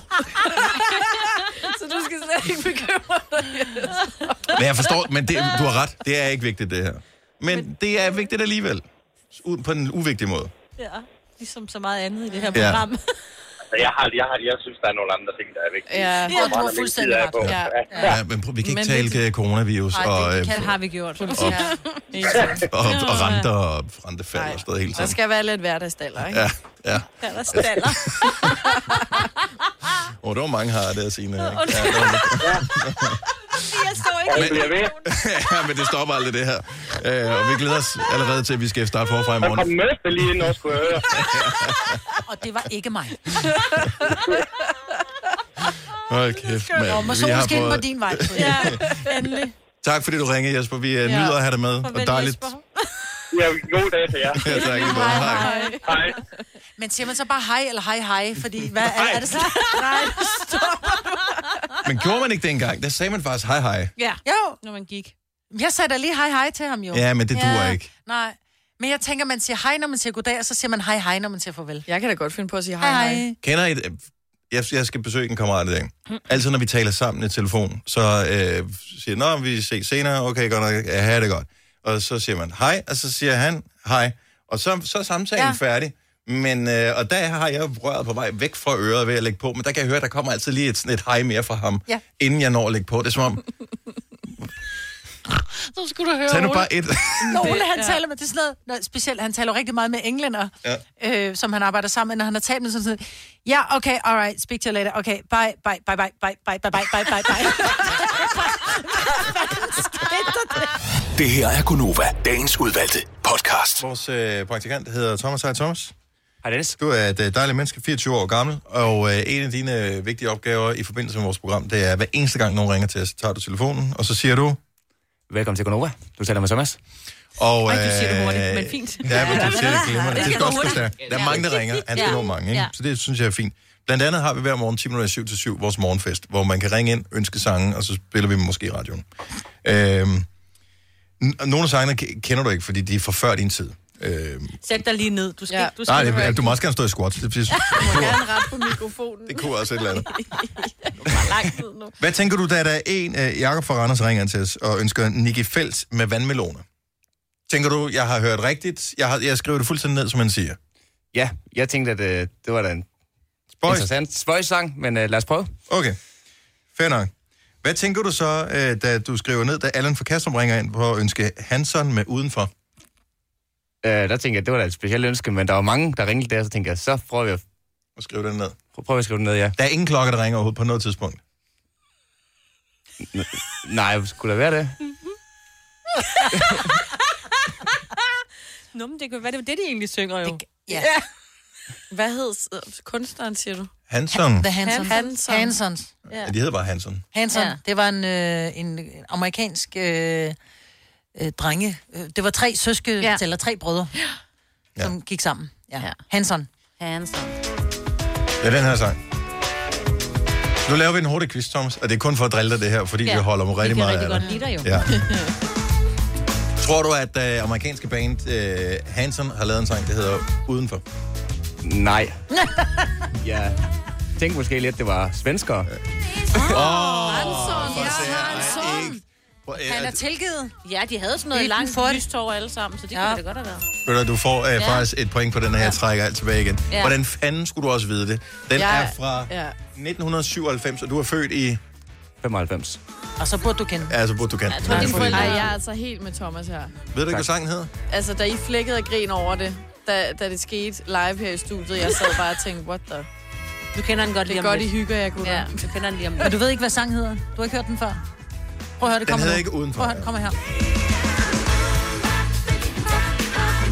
Speaker 6: så du skal slet ikke bekymre dig.
Speaker 3: [LAUGHS] Men jeg forstår, men det, du har ret. Det er ikke vigtigt, det her. Men, men det er vigtigt alligevel. Ud på en uvigtig måde.
Speaker 5: Ja, ligesom så meget andet i det her
Speaker 3: Ja.
Speaker 5: program. [LAUGHS] Ja.
Speaker 7: Altså, jeg, har, jeg, har, jeg synes, der er nogle andre ting, der er vigtige.
Speaker 5: Ja,
Speaker 7: Der er
Speaker 5: du har
Speaker 7: meget, der er
Speaker 5: fuldstændig
Speaker 7: vigtigt,
Speaker 5: ret.
Speaker 7: der er på.
Speaker 5: Ja.
Speaker 3: Ja, men prøv, vi kan ikke
Speaker 5: Men
Speaker 3: tale øh,
Speaker 5: vigtigt.
Speaker 3: coronavirus
Speaker 5: Ej,
Speaker 3: og,
Speaker 5: det,
Speaker 3: øh,
Speaker 5: det kan, har vi gjort. Ja.
Speaker 3: og, og renter og rentefald og sådan helt
Speaker 6: Der
Speaker 3: sådan.
Speaker 6: skal være lidt hverdagsdaller, ikke?
Speaker 3: Ja, ja.
Speaker 6: Der staller.
Speaker 3: Åh, oh, der var mange har det at sige. Ja,
Speaker 6: Undskyld.
Speaker 3: der var-
Speaker 5: Jeg står
Speaker 7: Og
Speaker 5: ikke.
Speaker 7: det bliver ved.
Speaker 3: ja, [LAUGHS] men det stopper aldrig det her. Øh, og vi glæder os allerede til, at vi skal starte forfra i
Speaker 7: Der kom
Speaker 3: morgen.
Speaker 7: møbel lige ind, også, skulle jeg høre.
Speaker 4: Og det var ikke
Speaker 3: [LAUGHS]
Speaker 4: mig.
Speaker 3: Hold kæft, mand.
Speaker 4: Nå, men
Speaker 3: Vi har
Speaker 4: solen skinner på
Speaker 3: fået-
Speaker 4: din vej.
Speaker 7: Ja,
Speaker 4: endelig.
Speaker 3: Tak fordi du ringede, Jesper. Vi ja.
Speaker 7: Ja.
Speaker 3: nyder at have dig med. og dejligt.
Speaker 7: Ja, god dag til jer.
Speaker 3: [LAUGHS] Ja, tak. i måde. Hej.
Speaker 7: Hej.
Speaker 4: Men siger man så bare hej eller hej hej, fordi hvad er, er det så? Nej, stop.
Speaker 3: Men gjorde man ikke dengang? Der sagde man faktisk hej hej.
Speaker 4: Ja. Jo. Når man gik. Jeg sagde da lige hej hej til ham jo.
Speaker 3: Ja, men det duer ikke.
Speaker 4: Nej. Men jeg tænker, man siger hej, når man siger goddag, og så siger man hej hej, når man siger farvel.
Speaker 6: Jeg kan da godt finde på at sige
Speaker 4: hej hej.
Speaker 3: Kender I et, jeg, jeg skal besøge en kammerat i dag. Altid, når vi taler sammen i telefon, så øh, siger jeg, nå, vi ses senere, okay, godt nok, ja, ha' det godt. Og så siger man hej, og så siger han hej. Og så, så er samtalen ja. færdig. Men, øh, og der har jeg jo røret på vej væk fra øret ved at lægge på, men der kan jeg høre, der kommer altid lige et, sådan et hej mere fra ham,
Speaker 4: Ja.
Speaker 3: inden jeg når at lægge på. Det er som om,
Speaker 4: [LAUGHS] Så skulle du høre
Speaker 3: Tag nu
Speaker 4: Ole.
Speaker 3: bare et. [LAUGHS]
Speaker 4: Ole, han
Speaker 3: Ja.
Speaker 4: ja. taler med, det er sådan noget, når- specielt, han taler jo rigtig meget med englænder,
Speaker 3: Ja.
Speaker 4: ja. øh, som han arbejder sammen med, når han har talt med sådan sådan, ja, okay, alright, speak to you later, okay, bye, bye, bye, bye, bye, bye, bye, bye, bye, bye, bye.
Speaker 15: Det her er Gunova, dagens udvalgte podcast.
Speaker 3: Vores øh, praktikant hedder Thomas. Hej Thomas. Hej Dennis. Du er et øh, dejligt menneske, 24 år gammel, og øh, en af dine øh, vigtige opgaver i forbindelse med vores program, det er, at hver eneste gang nogen ringer til os, tager du telefonen, og så siger du... Velkommen til Gunova. Du taler med Thomas. Og, øh,
Speaker 2: Ej, du siger det hurtigt, men fint.
Speaker 3: Ja, men du siger det glimrende.
Speaker 2: [LAUGHS] Det
Speaker 3: Det skal
Speaker 2: skal gå
Speaker 3: også gå
Speaker 2: hurtigt.
Speaker 3: stærkt. Der er mange, der ringer. Han skal
Speaker 2: Ja.
Speaker 3: nå mange, ikke?
Speaker 2: Ja.
Speaker 3: Så det synes jeg er fint. Blandt andet har vi hver morgen 10 minutter 7 til 7 vores morgenfest, hvor man kan ringe ind, ønske sange, og så spiller vi dem måske i radioen. Øhm, n- nogle af sangene k- kender du ikke, fordi de er fra før din tid. Øhm,
Speaker 5: Sæt dig lige ned. Du skal, ja. du skal
Speaker 3: Nej, det,
Speaker 5: høre.
Speaker 3: er- du må også gerne stå i squats. Det,
Speaker 6: må
Speaker 3: det,
Speaker 2: [LAUGHS]
Speaker 6: gerne rette på mikrofonen.
Speaker 3: det kunne også et eller andet.
Speaker 5: [LAUGHS]
Speaker 6: Lang tid nu.
Speaker 3: Hvad tænker du, da der er en af Jakob fra Randers ringer ind til os og ønsker Nicky Felt med vandmeloner? Tænker du, jeg har hørt rigtigt? Jeg, har, jeg skriver det fuldstændig ned, som man siger.
Speaker 2: Ja, jeg tænkte, at øh, det var da en
Speaker 3: Spøjs.
Speaker 2: interessant spøjsang, men øh, lad os prøve.
Speaker 3: Okay, fair nok. Hvad tænker du så, øh, da du skriver ned, da Allan fra Kastrup ringer ind på at ønske Hanson med udenfor?
Speaker 2: Øh, der tænkte jeg, det var da et specielt ønske, men der var mange, der ringede der, så tænkte jeg, så prøver vi at...
Speaker 3: Og skrive den ned.
Speaker 2: Prøver vi at skrive den ned, ja.
Speaker 3: Der er ingen klokke, der ringer overhovedet på noget tidspunkt.
Speaker 2: Nej, skulle der være det?
Speaker 5: Nå, men det kan være, det var det, de egentlig synger jo. Det,
Speaker 4: ja.
Speaker 6: Hvad hed
Speaker 5: øh,
Speaker 6: s- kunstneren, siger du?
Speaker 3: Hanson?
Speaker 4: The Hansons. Hansons. Hansons.
Speaker 3: Ja, de hedder bare Hanson.
Speaker 4: Hanson,
Speaker 6: Ja.
Speaker 4: ja. det var en, øh, en en amerikansk øh, øh, drenge. Øh, Det var tre søske, ja. eller tre brødre, ja. som gik sammen. Ja. ja. Hanson.
Speaker 5: Hanson.
Speaker 3: Det er den her sang. Nu laver vi en hurtig quiz, Thomas, og det er kun for at drille dig det her, fordi ja, vi holder mig rigtig meget af dig. Ja. Tror du, at øh, amerikanske band øh, Hanson har lavet en sang, der hedder Udenfor?
Speaker 2: Nej. Ja. Tænk måske lidt, det var svenskere.
Speaker 5: Hanson, ja, Hanson.
Speaker 3: øh,
Speaker 4: Han er tilgivet.
Speaker 5: Ja, de havde sådan noget
Speaker 4: Lidt
Speaker 5: langt
Speaker 4: for det.
Speaker 5: lystår alle sammen, så det ja. kunne det godt have været.
Speaker 3: Ved du, du får øh,
Speaker 5: Ja.
Speaker 3: faktisk et point på den her, jeg trækker alt tilbage igen.
Speaker 5: Ja.
Speaker 3: Hvordan fanden skulle du også vide det? Den
Speaker 4: Jeg-
Speaker 3: er fra
Speaker 4: ja.
Speaker 3: 1997, og du er født i...
Speaker 2: 95.
Speaker 4: Og så burde du kende.
Speaker 3: Ja, så burde du kende.
Speaker 6: Jeg
Speaker 3: den,
Speaker 6: tror, din
Speaker 3: fordi-
Speaker 6: forældre... Ej, jeg er altså helt med Thomas her.
Speaker 3: Ved du ikke, hvad sangen hedder?
Speaker 6: Altså, da I flækkede og grin over det, da, da det skete live her i studiet, jeg sad bare og tænkte, what the...
Speaker 5: Du kender den
Speaker 6: det
Speaker 5: godt lige
Speaker 6: er
Speaker 5: om
Speaker 6: godt, I
Speaker 5: lidt.
Speaker 6: hygger jeg kunne. Ja,
Speaker 5: du kender den lige om
Speaker 4: Men du ved ikke, hvad sang hedder? Du har ikke hørt den før? Prøv at høre, det
Speaker 3: Den
Speaker 4: kommer
Speaker 3: hedder
Speaker 4: nu.
Speaker 3: ikke Udenfor,
Speaker 4: Prøv at høre, det kommer her.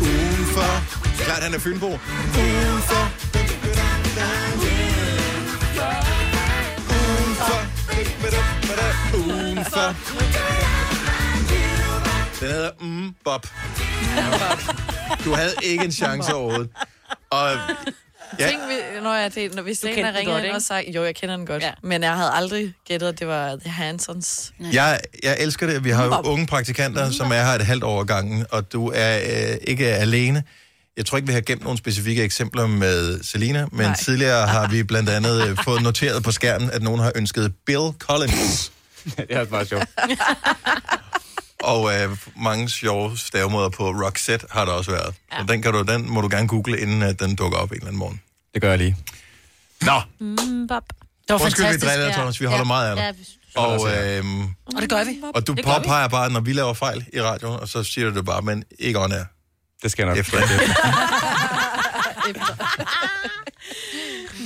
Speaker 3: Udenfor. Klart, han er Fynbo. Udenfor. Udenfor. Udenfor. Den hedder Mm Bob. Du havde ikke en chance overhovedet. Og
Speaker 6: Ja.
Speaker 3: Ja.
Speaker 6: Tænk, vi- når jeg det, når vi
Speaker 5: kender
Speaker 6: senere
Speaker 5: den
Speaker 6: ringer
Speaker 5: godt,
Speaker 6: ind
Speaker 5: ikke?
Speaker 6: og sagde, jo, jeg kender den godt, ja. men jeg havde aldrig gættet, at det var The Hansons.
Speaker 3: jeg, jeg elsker det. Vi har jo unge praktikanter, som er her et halvt år ad gangen, og du er øh, ikke alene. Jeg tror ikke, vi har gemt nogle specifikke eksempler med Selina, men Nej. tidligere har vi blandt andet øh, [LAUGHS] fået noteret på skærmen, at nogen har ønsket Bill Collins.
Speaker 2: [LAUGHS] det er også meget sjovt.
Speaker 3: [LAUGHS] Og øh, mange sjove stavemåder på Roxette har der også været. Ja. Så den, kan du, den må du gerne google, inden at den dukker op en eller anden morgen.
Speaker 2: Det gør jeg lige.
Speaker 3: Nå,
Speaker 5: Mm, bop.
Speaker 4: Det var
Speaker 3: undskyld, vi
Speaker 4: fantastisk.
Speaker 3: driller dig,
Speaker 4: Ja.
Speaker 3: Thomas. Vi holder
Speaker 4: Ja.
Speaker 3: meget af dig.
Speaker 4: Ja, vi synes-
Speaker 3: og, øh,
Speaker 4: Og det gør vi.
Speaker 3: og du
Speaker 4: Det gør vi.
Speaker 3: påpeger bare, når vi laver fejl i radioen, og så siger du det bare, men ikke on air.
Speaker 2: Det skal jeg nok.
Speaker 3: Efter
Speaker 4: [LAUGHS]
Speaker 3: det.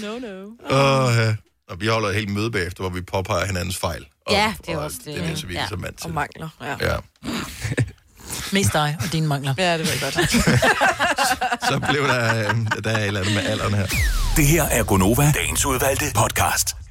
Speaker 6: no, no.
Speaker 3: Og, øh, og vi holder et helt møde bagefter, hvor vi påpeger hinandens fejl. Og,
Speaker 4: Ja, det er
Speaker 3: og
Speaker 4: også det.
Speaker 3: Det er det, så vi ja.
Speaker 4: Ja.
Speaker 3: er så vant til.
Speaker 6: Og mangler. Ja.
Speaker 3: Ja.
Speaker 4: Mest dig og dine mangler.
Speaker 6: Ja, det var godt.
Speaker 3: Så blev der, øh, der er et eller andet med alderen her.
Speaker 15: Det her er Gunova, dagens udvalgte podcast.